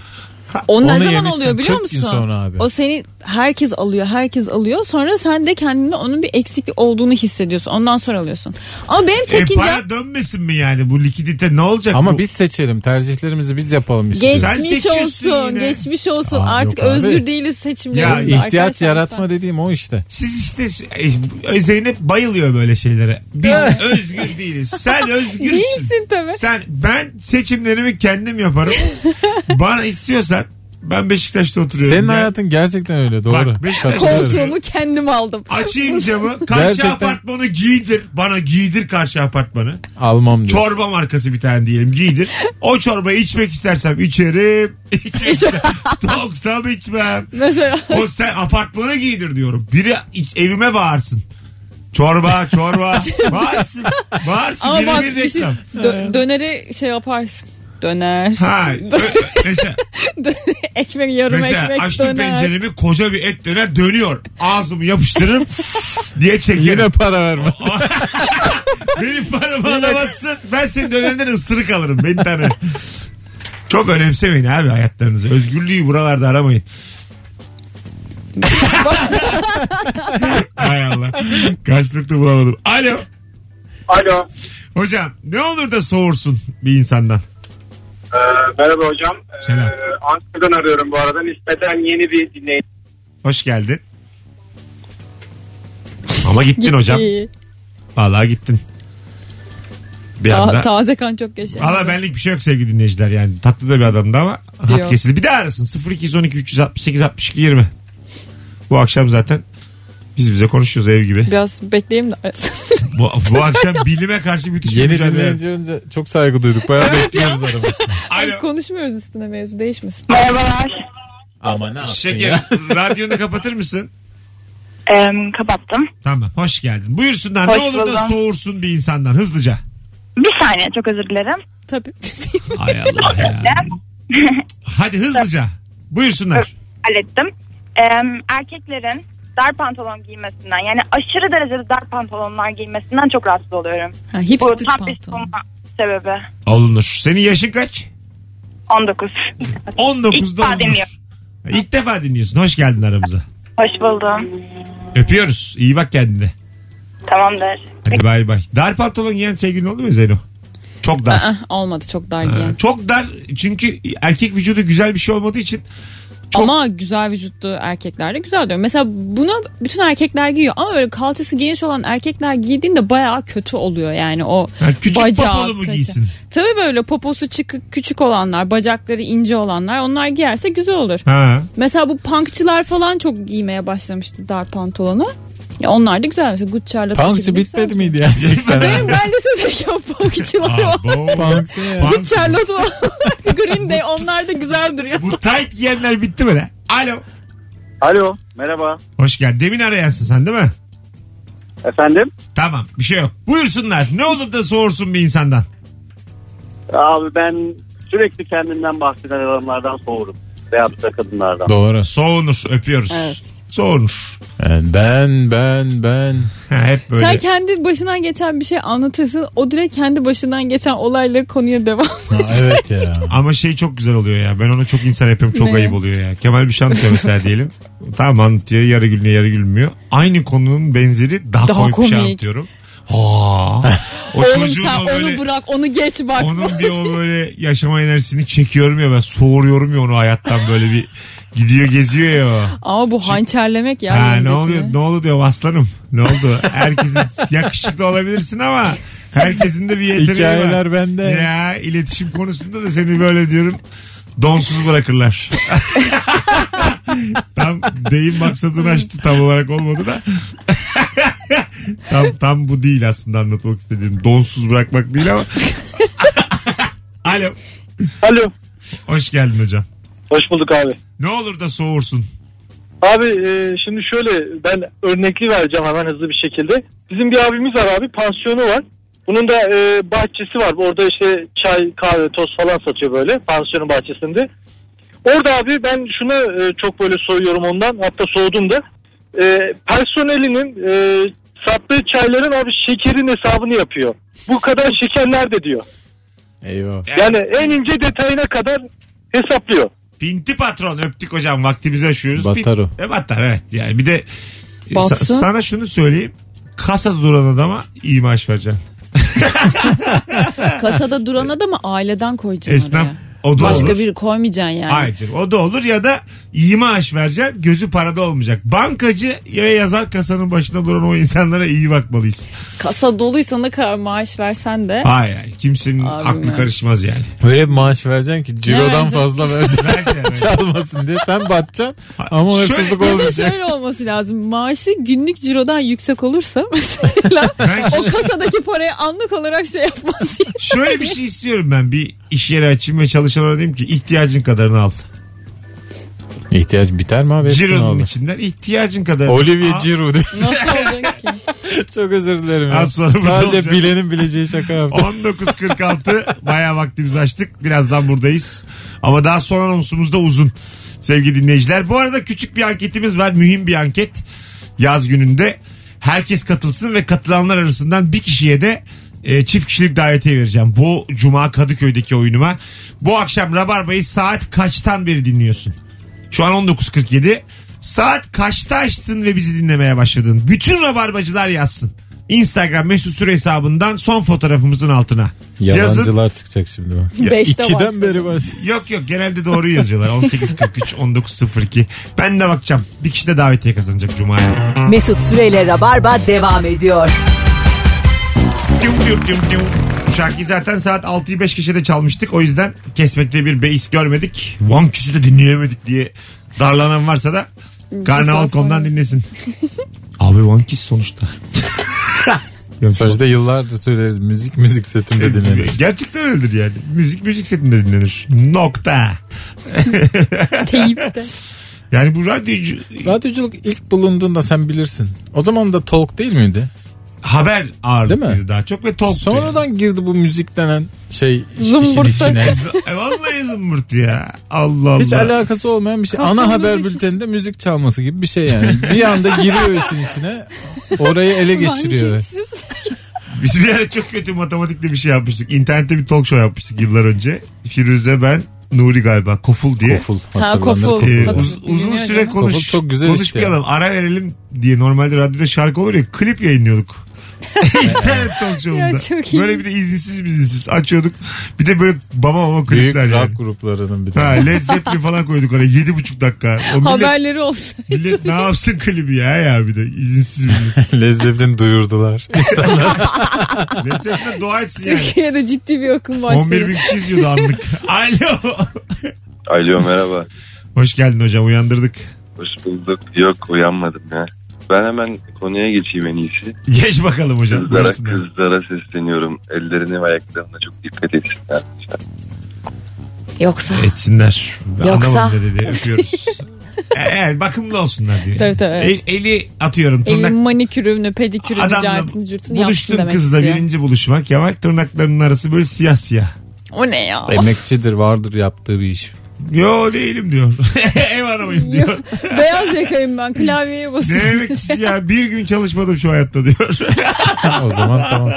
C: O ne
E: Onu
C: zaman
E: yemişsin,
C: oluyor biliyor
E: 40
C: musun?
E: gün sonra abi.
C: O seni herkes alıyor, herkes alıyor. Sonra sen de kendinde onun bir eksiklik olduğunu hissediyorsun. Ondan sonra alıyorsun. Ama benim
B: E,
C: çekince
B: para dönmesin mi yani bu likidite ne olacak? bu?
E: Ama biz seçelim tercihlerimizi biz yapalım istiyoruz.
B: Sen
C: geçmiş
B: seçiyorsun
C: olsun,
B: yine.
C: geçmiş olsun.
E: Aa,
C: Artık
E: yok abi.
C: özgür değiliz seçimlerimizde.
B: Ya,
E: İhtiyaç
C: Arkadaşlar
E: yaratma
C: lütfen.
E: dediğim o işte.
B: Siz işte e, Zeynep bayılıyor böyle şeylere. Biz özgür değiliz. Sen özgürsün.
C: Değilsin tabii.
B: Sen ben seçimlerimi
C: [laughs]
B: kendim yaparım. Bana istiyorsan ben Beşiktaş'ta oturuyorum.
E: Senin
B: Gel-
E: hayatın gerçekten öyle doğru.
B: Beşiktaş-
E: Katılıyorum.
C: Koltuğumu kendim aldım.
B: şey
C: [laughs]
B: Açayım camı. Karşı
E: Gerçekten.
B: apartmanı giydir. Bana giydir karşı apartmanı.
E: Almam diyorsun.
B: Çorba markası bir tane diyelim giydir. O çorbayı içmek istersem içerim. [laughs]
C: [laughs]
B: İçerim. Toksam içmem.
C: Mesela
B: O sen apartmana giydir diyorum. Biri iç- evime bağırsın. Çorba
C: [laughs]
B: çorba. bağırsın. Bağırsın.
C: ama
B: Biri
C: bak
B: bir
C: bir şey,
B: reklam.
C: dö- döneri şey yaparsın. Döner.
B: Ha, ö- ö- mesela
C: [laughs] ekmek yarım
B: mesela
C: ekmek
B: açtım
C: döner.
B: penceremi koca bir et döner dönüyor. Ağzımı yapıştırırım
C: [laughs]
B: diye
E: Yine
B: çekerim.
E: para verme.
B: Benim paramı alamazsın. Ben senin dönerinden ısırık alırım. Beni tane. Çok önemsemeyin abi hayatlarınızı. Özgürlüğü buralarda aramayın. Hay Allah. Karşılıklı bulamadım. Alo.
D: Alo.
B: Hocam ne olur da soğursun bir insandan.
D: Ee, merhaba hocam. Ee,
B: Selam.
D: Ankara'dan arıyorum bu arada. Nispeten yeni bir dinleyici.
B: Hoş geldin. Ama gittin hocam.
C: İyi.
B: Vallahi gittin. Bir
C: Ta-
B: anda.
C: taze kan çok yaşa.
B: Valla benlik bir şey yok sevgili dinleyiciler yani. Tatlı da bir adamdı ama hat
C: Yok.
B: kesildi. Bir daha arasın 0212 368 62 20. Bu akşam zaten biz bize konuşuyoruz ev gibi.
C: Biraz bekleyeyim de.
B: Bu,
C: [laughs]
B: bu akşam bilime karşı müthiş bir
E: Yeni
B: mücadele.
E: dinleyince önce çok saygı duyduk. Bayağı bekliyoruz arabasını.
C: Ay,
B: Alo.
C: konuşmuyoruz üstüne mevzu değişmesin.
J: Merhabalar.
E: Ama ne yaptın
B: Şeker
E: ya?
B: radyonu kapatır mısın?
J: Em, kapattım.
B: Tamam hoş geldin. Buyursunlar
J: Hoş
B: ne olur da
J: buldum.
B: soğursun bir insandan hızlıca.
J: Bir saniye çok özür dilerim.
C: Tabii.
B: Ay Allah ya. Hadi hızlıca. Buyursunlar.
J: Hallettim. Em, erkeklerin dar pantolon giymesinden yani aşırı derecede dar pantolonlar giymesinden çok rahatsız oluyorum.
C: ha,
J: Bu
C: hipster
J: tam bir
C: pantolon.
J: savunma sebebi.
B: Olunur. Senin yaşın kaç?
J: 19.
B: 19'da
J: defa
B: olunur.
J: dinliyorum.
B: İlk defa dinliyorsun. Hoş geldin aramıza.
J: Hoş buldum.
B: Öpüyoruz. İyi bak kendine.
J: Tamamdır.
B: Hadi bay bay. Dar pantolon giyen sevgilin oluyor mu Zeyno? Çok dar.
C: Ah, olmadı çok dar
B: Ha,
C: giyen.
B: Çok dar çünkü erkek vücudu güzel bir şey olmadığı için çok-
C: Ama güzel vücutlu erkekler de güzel diyor. Mesela bunu bütün erkekler giyiyor ama öyle kalçası geniş olan erkekler giydiğinde bayağı kötü oluyor yani o
B: Ha, küçük
C: bacağı.
B: popolu mu
C: kötü.
B: giysin?
C: Tabii böyle poposu çıkık küçük olanlar, bacakları ince olanlar onlar giyerse güzel olur.
B: Ha.
C: Mesela bu punkçılar falan çok giymeye başlamıştı dar pantolonu. Ya onlar da güzel. Mesela Gucci'lerle
E: Punkçı bitmedi miydi ya 80'lerde?
C: Benim [laughs] ben lisedeyken punkçılar var.
B: Abo.
E: Punkçı ya.
B: Punk.
C: Charlotte var. [laughs] Green Day onlar da güzel duruyor.
B: Bu tight giyenler bitti mi lan? Alo.
I: Alo merhaba
B: Hoş geldin. Demin arayansın sen değil mi?
I: efendim
B: Tamam bir şey yok. Buyursunlar. Ne olur da soğursun bir insandan.
I: Abi ben sürekli kendimden bahseden adamlardan soğurum. Veyahut da kadınlardan.
E: Doğru.
B: Soğunur öpüyoruz.
C: Evet.
B: Soğunur.
E: Ben ben ben.
B: Ha, Hep böyle.
C: Sen kendi başından geçen bir şey anlatırsın. O direkt kendi başından geçen olayla konuya devam.
E: Ha, evet ya.
B: Ama şey çok güzel oluyor ya. Ben onu çok insan yapıyorum. Çok
C: Ne?
B: ayıp oluyor ya. Kemal bir şey
C: [laughs]
B: anlatıyor mesela diyelim. Tamam anlatıyor. Yarı gülüyor yarı gülmüyor. Aynı konunun benzeri daha,
C: Daha
B: komik, bir şey
C: komik.
B: anlatıyorum. Aa, o
C: Oğlum
B: çocuğun
C: sen
B: o böyle,
C: onu bırak onu geç bak.
B: onun bir o böyle yaşama enerjisini çekiyorum ya ben soğuruyorum ya onu hayattan böyle bir gidiyor geziyor ya o.
C: Ama bu hançerlemek ya.
B: Ha, ne
C: yanındakini.
B: oluyor? Ne oldu diyor aslanım. Ne oldu? Herkesin yakışıklı olabilirsin ama herkesin de bir yeteneği var.
E: Hikayeler bende.
B: Ya iletişim konusunda da seni böyle diyorum donsuz bırakırlar. [laughs] tam deyim maksadını açtı tam olarak olmadı da. [laughs] tam tam bu değil aslında anlatmak istediğim. Donsuz bırakmak değil ama. [laughs] Alo.
I: Alo.
B: Hoş geldin hocam.
I: Hoş bulduk abi.
B: Ne olur da soğursun.
I: Abi e, şimdi şöyle ben örnekli vereceğim hemen hızlı bir şekilde. Bizim bir abimiz var abi pansiyonu var. Bunun da e, bahçesi var. Orada işte çay, kahve, toz falan satıyor böyle pansiyonun bahçesinde. Orada abi ben şuna e, çok böyle soğuyorum ondan. Hatta soğudum da. E, personelinin e, sattığı çayların abi şekerin hesabını yapıyor. Bu kadar şeker nerede diyor.
E: Eyvah.
I: Yani en ince detayına kadar hesaplıyor.
B: Pinti patron öptük hocam vaktimizi aşıyoruz.
E: Batar o.
B: Pin- E, batar evet yani bir de e, sa-
C: Batsın.
B: sana şunu söyleyeyim. Kasada duran adama iyi maaş vereceğim.
C: Kasada duran adamı aileden koyacaksın
B: Esnaf
C: oraya.
B: o da
C: Başka şey.
B: olur.
C: biri koymayacaksın yani.
B: Hayır o da olur ya da iyi maaş vereceksin gözü parada olmayacak. Bankacı ya yazar kasanın başında duran o insanlara iyi bakmalıyız.
C: Kasa doluysa ne kadar maaş versen de.
B: Hayır hayır, kimsenin
C: Abim
B: aklı
C: ya.
B: karışmaz yani.
E: Böyle bir maaş vereceksin ki cirodan
C: vereceksin?
E: fazla vereceksin. [laughs] Çalmasın diye. Sen batacaksın ama
B: Şöyle-
E: hırsızlık
C: Ya da
E: olmayacak.
C: şöyle olması lazım. Maaşı günlük cirodan yüksek olursa [laughs] mesela
B: Ben
C: o kasadaki parayı anlık olarak şey yapmaz.
B: şöyle bir şey istiyorum ben bir iş yeri açayım ve çalışanlara diyeyim ki ihtiyacın kadarını al.
C: şey.
E: İhtiyaç biter mi abi? Hepsini
B: Ciro'nun
E: alır.
B: içinden ihtiyacın kadarını
E: Olivier
B: al.
E: Giroud. [laughs]
C: Nasıl olacak ki?
E: Çok özür dilerim. ya.
B: Az sonra burada
E: Sadece
B: olacak.
E: bilenin bileceği şaka yaptım.
B: 19.46 bayağı vaktimizi açtık. Birazdan buradayız. Ama daha son anonsumuz da uzun. Sevgili dinleyiciler. Bu arada küçük bir anketimiz var. Mühim bir anket. Yaz gününde. Herkes katılsın ve katılanlar arasından bir kişiye de e, çift kişilik davetiye vereceğim. Bu cuma Kadıköy'deki oyunuma. Bu akşam Rabarba'yı saat kaçtan beri dinliyorsun? Şu an 19.47. Saat kaçta açtın ve bizi dinlemeye başladın? Bütün rabarbacılar yazsın. Instagram mesut süre hesabından son fotoğrafımızın altına. Yazın.
E: Yalancılar çıkacak şimdi bak.
B: Ya,
C: Beşte
E: İkiden
C: başladı.
E: beri başladı.
B: Yok yok genelde doğru yazıyorlar. 18.43, 19.02. Ben de bakacağım. Bir kişi de davetiye kazanacak Cuma'ya.
A: Mesut Süreyle Rabarba devam
C: [laughs]
A: ediyor.
B: Tüm tüm tüm tüm. Bu şarkıyı zaten saat 6'yı 5 geçede çalmıştık. O yüzden kesmekte bir beis görmedik. One kişi de dinleyemedik diye darlanan varsa da Karnaval.com'dan dinlesin. Abi One Kiss sonuçta. Yok,
E: Sözde yıllardır söyleriz müzik müzik setinde dinlenir.
B: Gerçekten öyledir yani. Müzik müzik setinde dinlenir. Nokta.
C: Teyipte.
B: Yani bu radyocu
E: Radyoculuk ilk bulunduğunda sen bilirsin. O zaman da talk değil miydi?
B: haber
E: Değil
B: ağırlıklıydı
E: mi?
B: daha çok ve talk.
E: [laughs] Sonradan girdi bu müzik denen şey işin
C: Zımbırtı.
E: içine.
B: E, vallahi zımbırt ya. Allah Allah.
E: Hiç alakası olmayan bir şey. Ana
C: Kafamda
E: haber
C: bir şey.
E: bülteninde müzik çalması gibi bir şey yani. Bir anda giriyor işin içine. Orayı ele geçiriyor.
C: Mankensiz.
B: Biz bir ara çok kötü matematikle bir şey yapmıştık. İnternette bir talk show yapmıştık yıllar önce. Firuze ben Nuri galiba Koful diye.
E: Koful.
C: Ha,
E: hatırlanır.
C: koful.
B: Ee,
E: Koful.
B: uz- uzun
C: Dinliyor
B: süre
C: canım.
B: konuş,
E: Koful çok güzel işte.
B: konuşmayalım ara verelim diye normalde radyoda şarkı olur ya klip yayınlıyorduk.
E: [laughs]
B: İnternet talk show'unda.
C: Ya çok iyi.
B: Böyle bir de izinsiz bizinsiz açıyorduk. Bir de böyle baba baba
E: Büyük
B: klipler
E: rock
B: yani.
E: gruplarının bir
B: Ha,
E: tane.
B: Led Zeppelin falan koyduk oraya 7,5 dakika. O millet,
C: Haberleri olsun.
B: millet ne yapsın klibi ya ya bir de izinsiz bizinsiz.
C: [laughs]
E: Lezzetini duyurdular.
B: Led Zeppelin dua etsin yani.
C: Türkiye'de ciddi bir akım
B: 11 bin
C: başladı.
B: kişi
C: [laughs]
B: izliyordu anlık. Alo.
D: Alo merhaba.
B: Hoş geldin hocam uyandırdık.
D: Hoş bulduk. Yok uyanmadım ya. Ben hemen konuya geçeyim en iyisi.
B: Geç bakalım hocam.
D: Kızlara,
B: buyursunlar.
D: kızlara sesleniyorum. Ellerine ve ayaklarına çok dikkat etsinler.
C: Yoksa.
B: Etsinler. Ben
C: Yoksa-
B: Anlamadım ne dedi. Öpüyoruz. [laughs] E, Evet bakımlı olsunlar diyor.
C: Tabii, tabii, evet.
B: El- eli atıyorum
C: Elin
B: tırnak.
C: manikürünü, pedikürünü,
B: Adamla
C: cartını, cürtünü yapsın
B: buluştun
C: demek
B: kızla
C: istiyor.
B: birinci buluşma. Kemal tırnaklarının arası böyle siyah siyah.
C: O ne ya? [laughs]
E: Emekçidir vardır yaptığı bir iş.
B: Yo değilim diyor. [laughs] Ev aramayım diyor.
C: Beyaz yakayım ben klavyeye
B: Ne
C: basıyorum. [laughs]
B: emeklisi ya bir gün çalışmadım şu hayatta diyor. [laughs]
E: o zaman [laughs] tamam.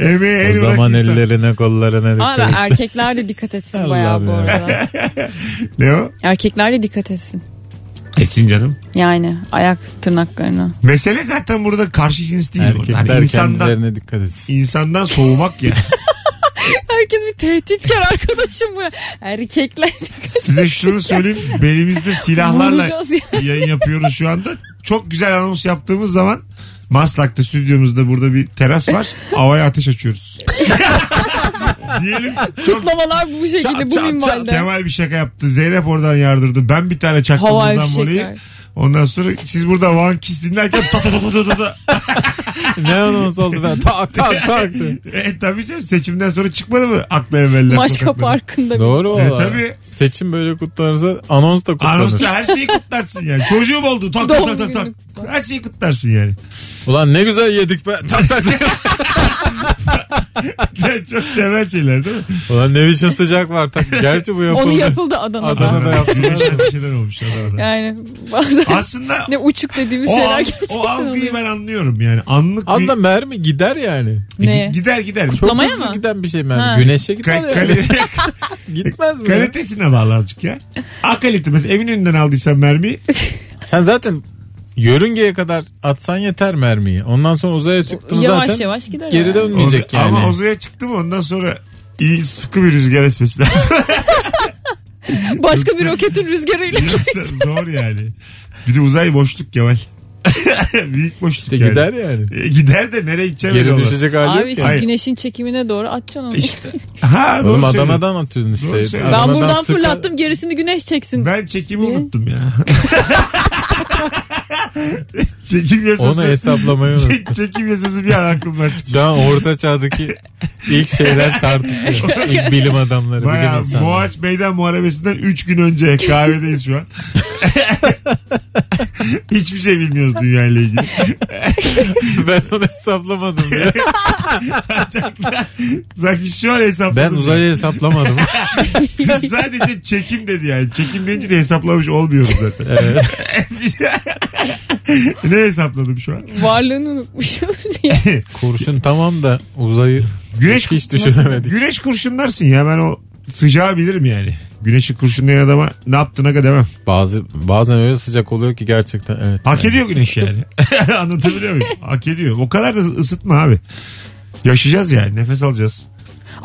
B: Emeği el
E: o zaman
B: bırakırsan-
E: ellerine kollarına
C: Ama
E: dikkat et.
C: erkekler de dikkat etsin
E: Allah
C: bayağı bu
E: bilir.
C: arada.
B: Ne o?
C: Erkekler de dikkat etsin.
B: Etsin canım.
C: Yani ayak tırnaklarına.
B: Mesele zaten burada karşı cins değil. bu.
E: Erkekler
B: Yani insandan,
E: kendilerine dikkat etsin.
B: insandan soğumak ya.
C: Herkes bir tehditkar arkadaşım bu. Erkekler dikkat
B: Size şunu söyleyeyim. Belimizde silahlarla
C: Vuracağız ya.
B: yayın yapıyoruz şu anda. Çok güzel anons yaptığımız zaman Maslak'ta stüdyomuzda burada bir teras var. Havaya ateş açıyoruz. [laughs] Diyelim çok
C: Kutlamalar bu şekilde
B: Çat,
C: bu
B: çat, çat.
C: minvalde.
B: Kemal bir şaka yaptı. Zeynep oradan yardırdı. Ben bir tane çaktım
C: Havai
B: bundan
C: fişekler.
B: dolayı. Ondan sonra siz burada One Kiss dinlerken ta ta ta ta ta ta.
E: ne anons oldu ben tak tak tak.
B: E [laughs] tabii canım seçimden sonra çıkmadı mı akla evveller
C: Maçka
B: sokaklara?
C: Parkı'nda. bir-
E: Doğru o.
B: E, tabii.
E: Seçim böyle kutlanırsa anons da kutlanır.
B: Anonsla her şeyi kutlarsın yani. Çocuğum oldu tak tak
C: Doğum
B: tak tak. tak.
C: günü.
B: Her şeyi kutlarsın yani. [laughs]
E: Ulan ne güzel yedik be. Tak tak tak.
B: Yani çok temel şeyler değil mi?
E: Ulan ne biçim sıcak var. Tak. Gerçi bu yapıldı.
C: Onu yapıldı Adana'da.
E: Adana'da.
B: Adana'da
E: yaptılar.
B: güneşle bir şeyler olmuş Adana'da.
C: Yani bazen
B: Aslında
C: ne uçuk dediğimiz
B: o,
C: şeyler
B: al-
C: gerçekten
B: o algıyı
C: oluyor.
B: ben anlıyorum yani. Anlık
E: Az da
B: bir...
E: mermi gider yani.
B: E,
C: Ne?
B: Gider gider. Çok
C: Kutlamaya
E: Hızlı
C: mı?
E: giden bir şey mermi.
C: Ha.
E: Güneşe gider
B: ka-
E: yani.
B: kalite,
E: Gitmez mi?
B: [laughs]
E: ya?
B: kalitesine bağlı azıcık ya. A kalite mesela evin önünden
C: [laughs]
B: aldıysan mermiyi
E: Sen zaten yörüngeye kadar atsan yeter mermiyi. Ondan sonra uzaya çıktın
C: Yavaş
E: zaten.
C: yavaş gider.
E: Geri
C: herhalde.
E: dönmeyecek
B: Oza-
E: yani.
B: Ama Oza'ya çıktı mı ondan sonra iyi sıkı bir rüzgar
C: [laughs]
B: esmesi lazım.
C: Başka bir roketin rüzgarıyla.
B: Yoksa zor yani. Bir de uzay boşluk Kemal. [laughs] Büyük boşluk
E: İşte
B: yani.
E: gider yani.
B: E, gider de nereye gideceğim
E: Geri düşecek hali
C: Abi şey-
E: yok
C: işte
E: ya.
B: Hayır.
C: güneşin çekimine doğru atacaksın onu.
B: İşte. Ha, doğru
E: Oğlum
B: söylüyorsun.
E: Adana'dan atıyorsun işte.
B: Doğru söylüyorsun.
C: Ben
E: Adana'dan
C: buradan
E: sıkı-
C: fırlattım gerisini güneş çeksin.
B: Ben çekimi
C: Niye?
B: unuttum ya. [laughs] çekim yasası.
E: Onu hesaplamayı
B: [laughs]
E: unuttum.
B: Çek- çekim yasası bir an aklımdan
E: [laughs]
B: çıktı.
E: Şu an orta çağdaki ilk şeyler tartışıyor. İlk bilim adamları, bilim
B: Baya
E: insanları.
B: Boğaç Meydan Muharebesi'nden 3 gün önce kahvedeyiz şu an. [laughs] Hiçbir şey bilmiyoruz dünyayla ilgili. [laughs]
E: Ben onu hesaplamadım ya.
B: Sanki şu an hesapladım.
E: Ben uzayı hesaplamadım.
B: Biz sadece çekim dedi yani. Çekim deyince de hesaplamış olmuyoruz zaten. [laughs]
E: Evet.
B: ne hesapladım şu an?
C: Varlığını unutmuşum [laughs] diye.
E: Kurşun tamam da uzayı
B: Güneş,
E: hiç, hiç düşünemedik.
B: güneş kurşunlarsın ya ben o sıcağı bilirim yani. Güneşi kurşunlayan adama ne yaptığına kadar demem.
E: Bazı bazen öyle sıcak oluyor ki gerçekten evet.
B: Hak ediyor güneş yani. [laughs] Anlatabiliyor muyum? Hak ediyor. O kadar da ısıtma abi. Yaşayacağız yani. Nefes alacağız.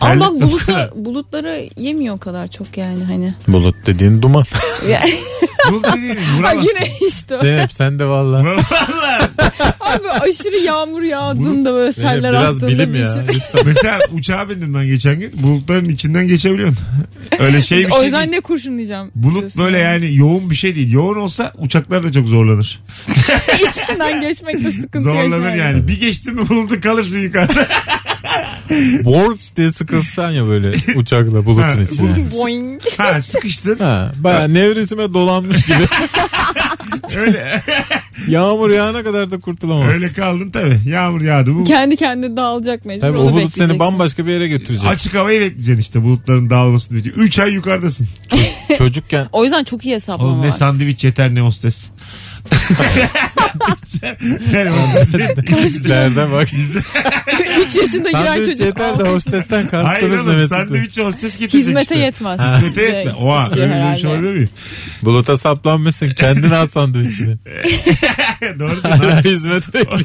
C: Ama
B: [laughs]
C: bak
B: Terletme bu
C: buluta,
B: kadar.
C: bulutları yemiyor o kadar çok yani hani.
E: Bulut
B: [laughs]
E: dediğin duman.
B: Buz dediğini
C: Ha,
B: vuramazsın.
C: yine işte.
E: Zeynep sen de valla.
B: Vallahi.
C: Abi aşırı yağmur yağdığında böyle
E: Zeynep
C: seller
E: biraz
C: attığında.
E: bilim
C: bir
E: ya.
C: şey-
E: Lütfen.
B: Mesela uçağa bindim ben geçen gün. Bulutların içinden geçebiliyorsun. Öyle şey bir şey
C: o yüzden
B: değil.
C: ne kurşunlayacağım.
B: Bulut
C: diyorsun.
B: böyle yani yoğun bir şey değil. Yoğun olsa uçaklar da çok zorlanır.
C: [laughs] İçinden geçmekte sıkıntı
B: Zorlanır
C: yaşar.
B: yani. Bir geçtin mi bulutun
C: [laughs]
B: kalırsın yukarıda.
E: Hani Borgs diye sıkılsan ya böyle uçakla
B: Ha,
E: bulutun içine.
C: [laughs] Boing.
B: ha sıkıştın.
E: Ha, baya nevrisime dolanmış
B: [laughs]
E: gibi.
B: Öyle
E: Yağmur yağana kadar da kurtulamazsın.
B: öyle kaldın tabii. Yağmur yağdı
C: [laughs]
B: bu.
C: Kendi kendine dağılacak mecbur.
E: Tabii
C: onu
E: o bulut
C: bekleyeceksin.
E: seni bambaşka bir yere götürecek.
B: Açık havayı bekleyeceksin işte bulutların dağılmasını bekleyeceksin. 3 ay yukarıdasın.
E: Çocukken
C: O yüzden çok iyi hesaplama
B: Oğlum
C: [laughs]
B: ne
C: var.
B: sandviç yeter ne hostes. yani hostes değil.
E: tiplerden bak.
C: 3 yaşında giren
E: Sandviç
C: çocuk.
E: yeter de
C: Al.
B: Hayır
E: hostesten kastınız ne
B: oğlum
E: Mesut'u?
B: sandviç hostes getirecek
C: Hizmete
B: işte.
C: yetmez.
B: Hizmete
C: Bize
B: yetmez. Oha
C: gidiyor
B: öyle bir
C: herhalde.
B: şey olabilir miyim? [laughs]
E: Buluta saplanmışsın kendin al [laughs] sandviçini.
B: Doğru [laughs] değil mi?
E: Hala hizmet bekliyor.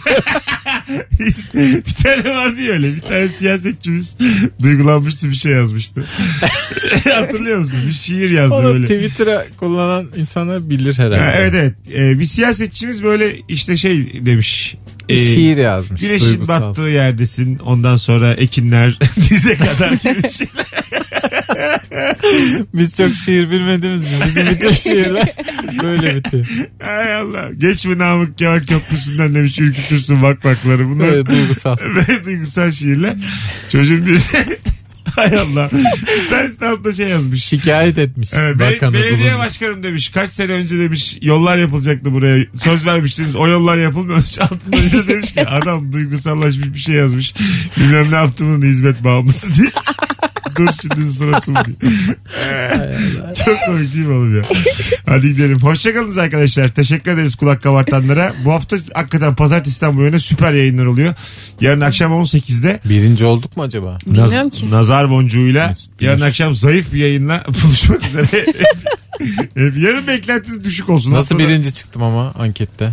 B: bir tane vardı ya öyle. Bir tane siyasetçimiz duygulanmıştı bir şey yazmıştı. [laughs] Hatırlıyor musun? Bir şiir yazdı
E: Onu
B: böyle.
E: Twitter'a kullanan insanlar bilir
B: Ha,
E: herhalde.
B: evet evet. Ee, bir siyasetçimiz böyle işte şey demiş. Ee,
E: Şiir yazmış.
B: Güneşin
E: duygusal.
B: battığı yerdesin. Ondan sonra ekinler [laughs] dize kadar gibi bir şeyler.
E: Biz çok şiir bilmediğimiz için bizim [laughs] bütün şiirler böyle bitiyor.
B: Ay Allah. Geç mi Namık Kemal Köprüsü'nden demiş ürkütürsün bak bakları. Bunlar [laughs]
E: Böyle duygusal.
B: böyle duygusal şiirler. Çocuğun bir [laughs] Hay Allah. Bir tanesi de altta şey yazmış.
E: Şikayet etmiş.
B: Evet, be-
E: bakanı
B: belediye
E: bulundu.
B: başkanım demiş kaç sene önce demiş yollar yapılacaktı buraya söz vermiştiniz o yollar yapılmıyormuş [laughs] altında bir de demiş ki adam duygusallaşmış bir şey yazmış bilmem ne yaptığımın da hizmet bağımlısı [laughs] diye Dur şimdi sırası mı? diye. Çok komik değil mi oğlum ya? Hadi gidelim. Hoşçakalınız arkadaşlar. Teşekkür ederiz kulak kabartanlara. Bu hafta hakikaten pazartesiden bu yana süper yayınlar oluyor. Yarın akşam 18'de
E: Birinci olduk mu acaba?
C: Bilmiyorum ki.
B: Nazar boncuğuyla
E: Mesut Güneş.
B: yarın akşam zayıf bir yayınla [laughs] buluşmak üzere. Hep yarın beklentiniz düşük olsun.
E: Nasıl
B: Haftada-
E: birinci çıktım ama ankette?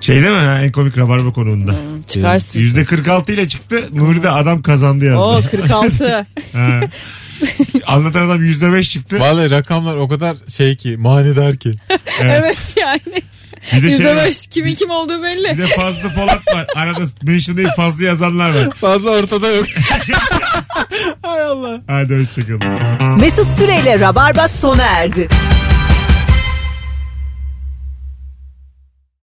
B: Şey değil mi ha, en komik rabarba konuğunda.
C: [laughs] Çıkarsın.
B: %46 ile çıktı. Nuri de adam kazandı
E: Ee,
C: Oo
B: yazdı.
E: [laughs]
C: 46.
B: Ha. [laughs] Anlatan adam %5 çıktı.
E: Vallahi rakamlar o kadar şey ki manidar [laughs] ki.
C: evet yani.
B: Bir de şey var.
C: %5 kimin kim olduğu belli.
B: Bir de Fazlı Polat var. Arada mention değil fazla yazanlar var.
E: Fazla ortada yok. Hay Allah.
B: Hadi hoşçakalın.
A: Mesut Süreyle Rabarba sona erdi.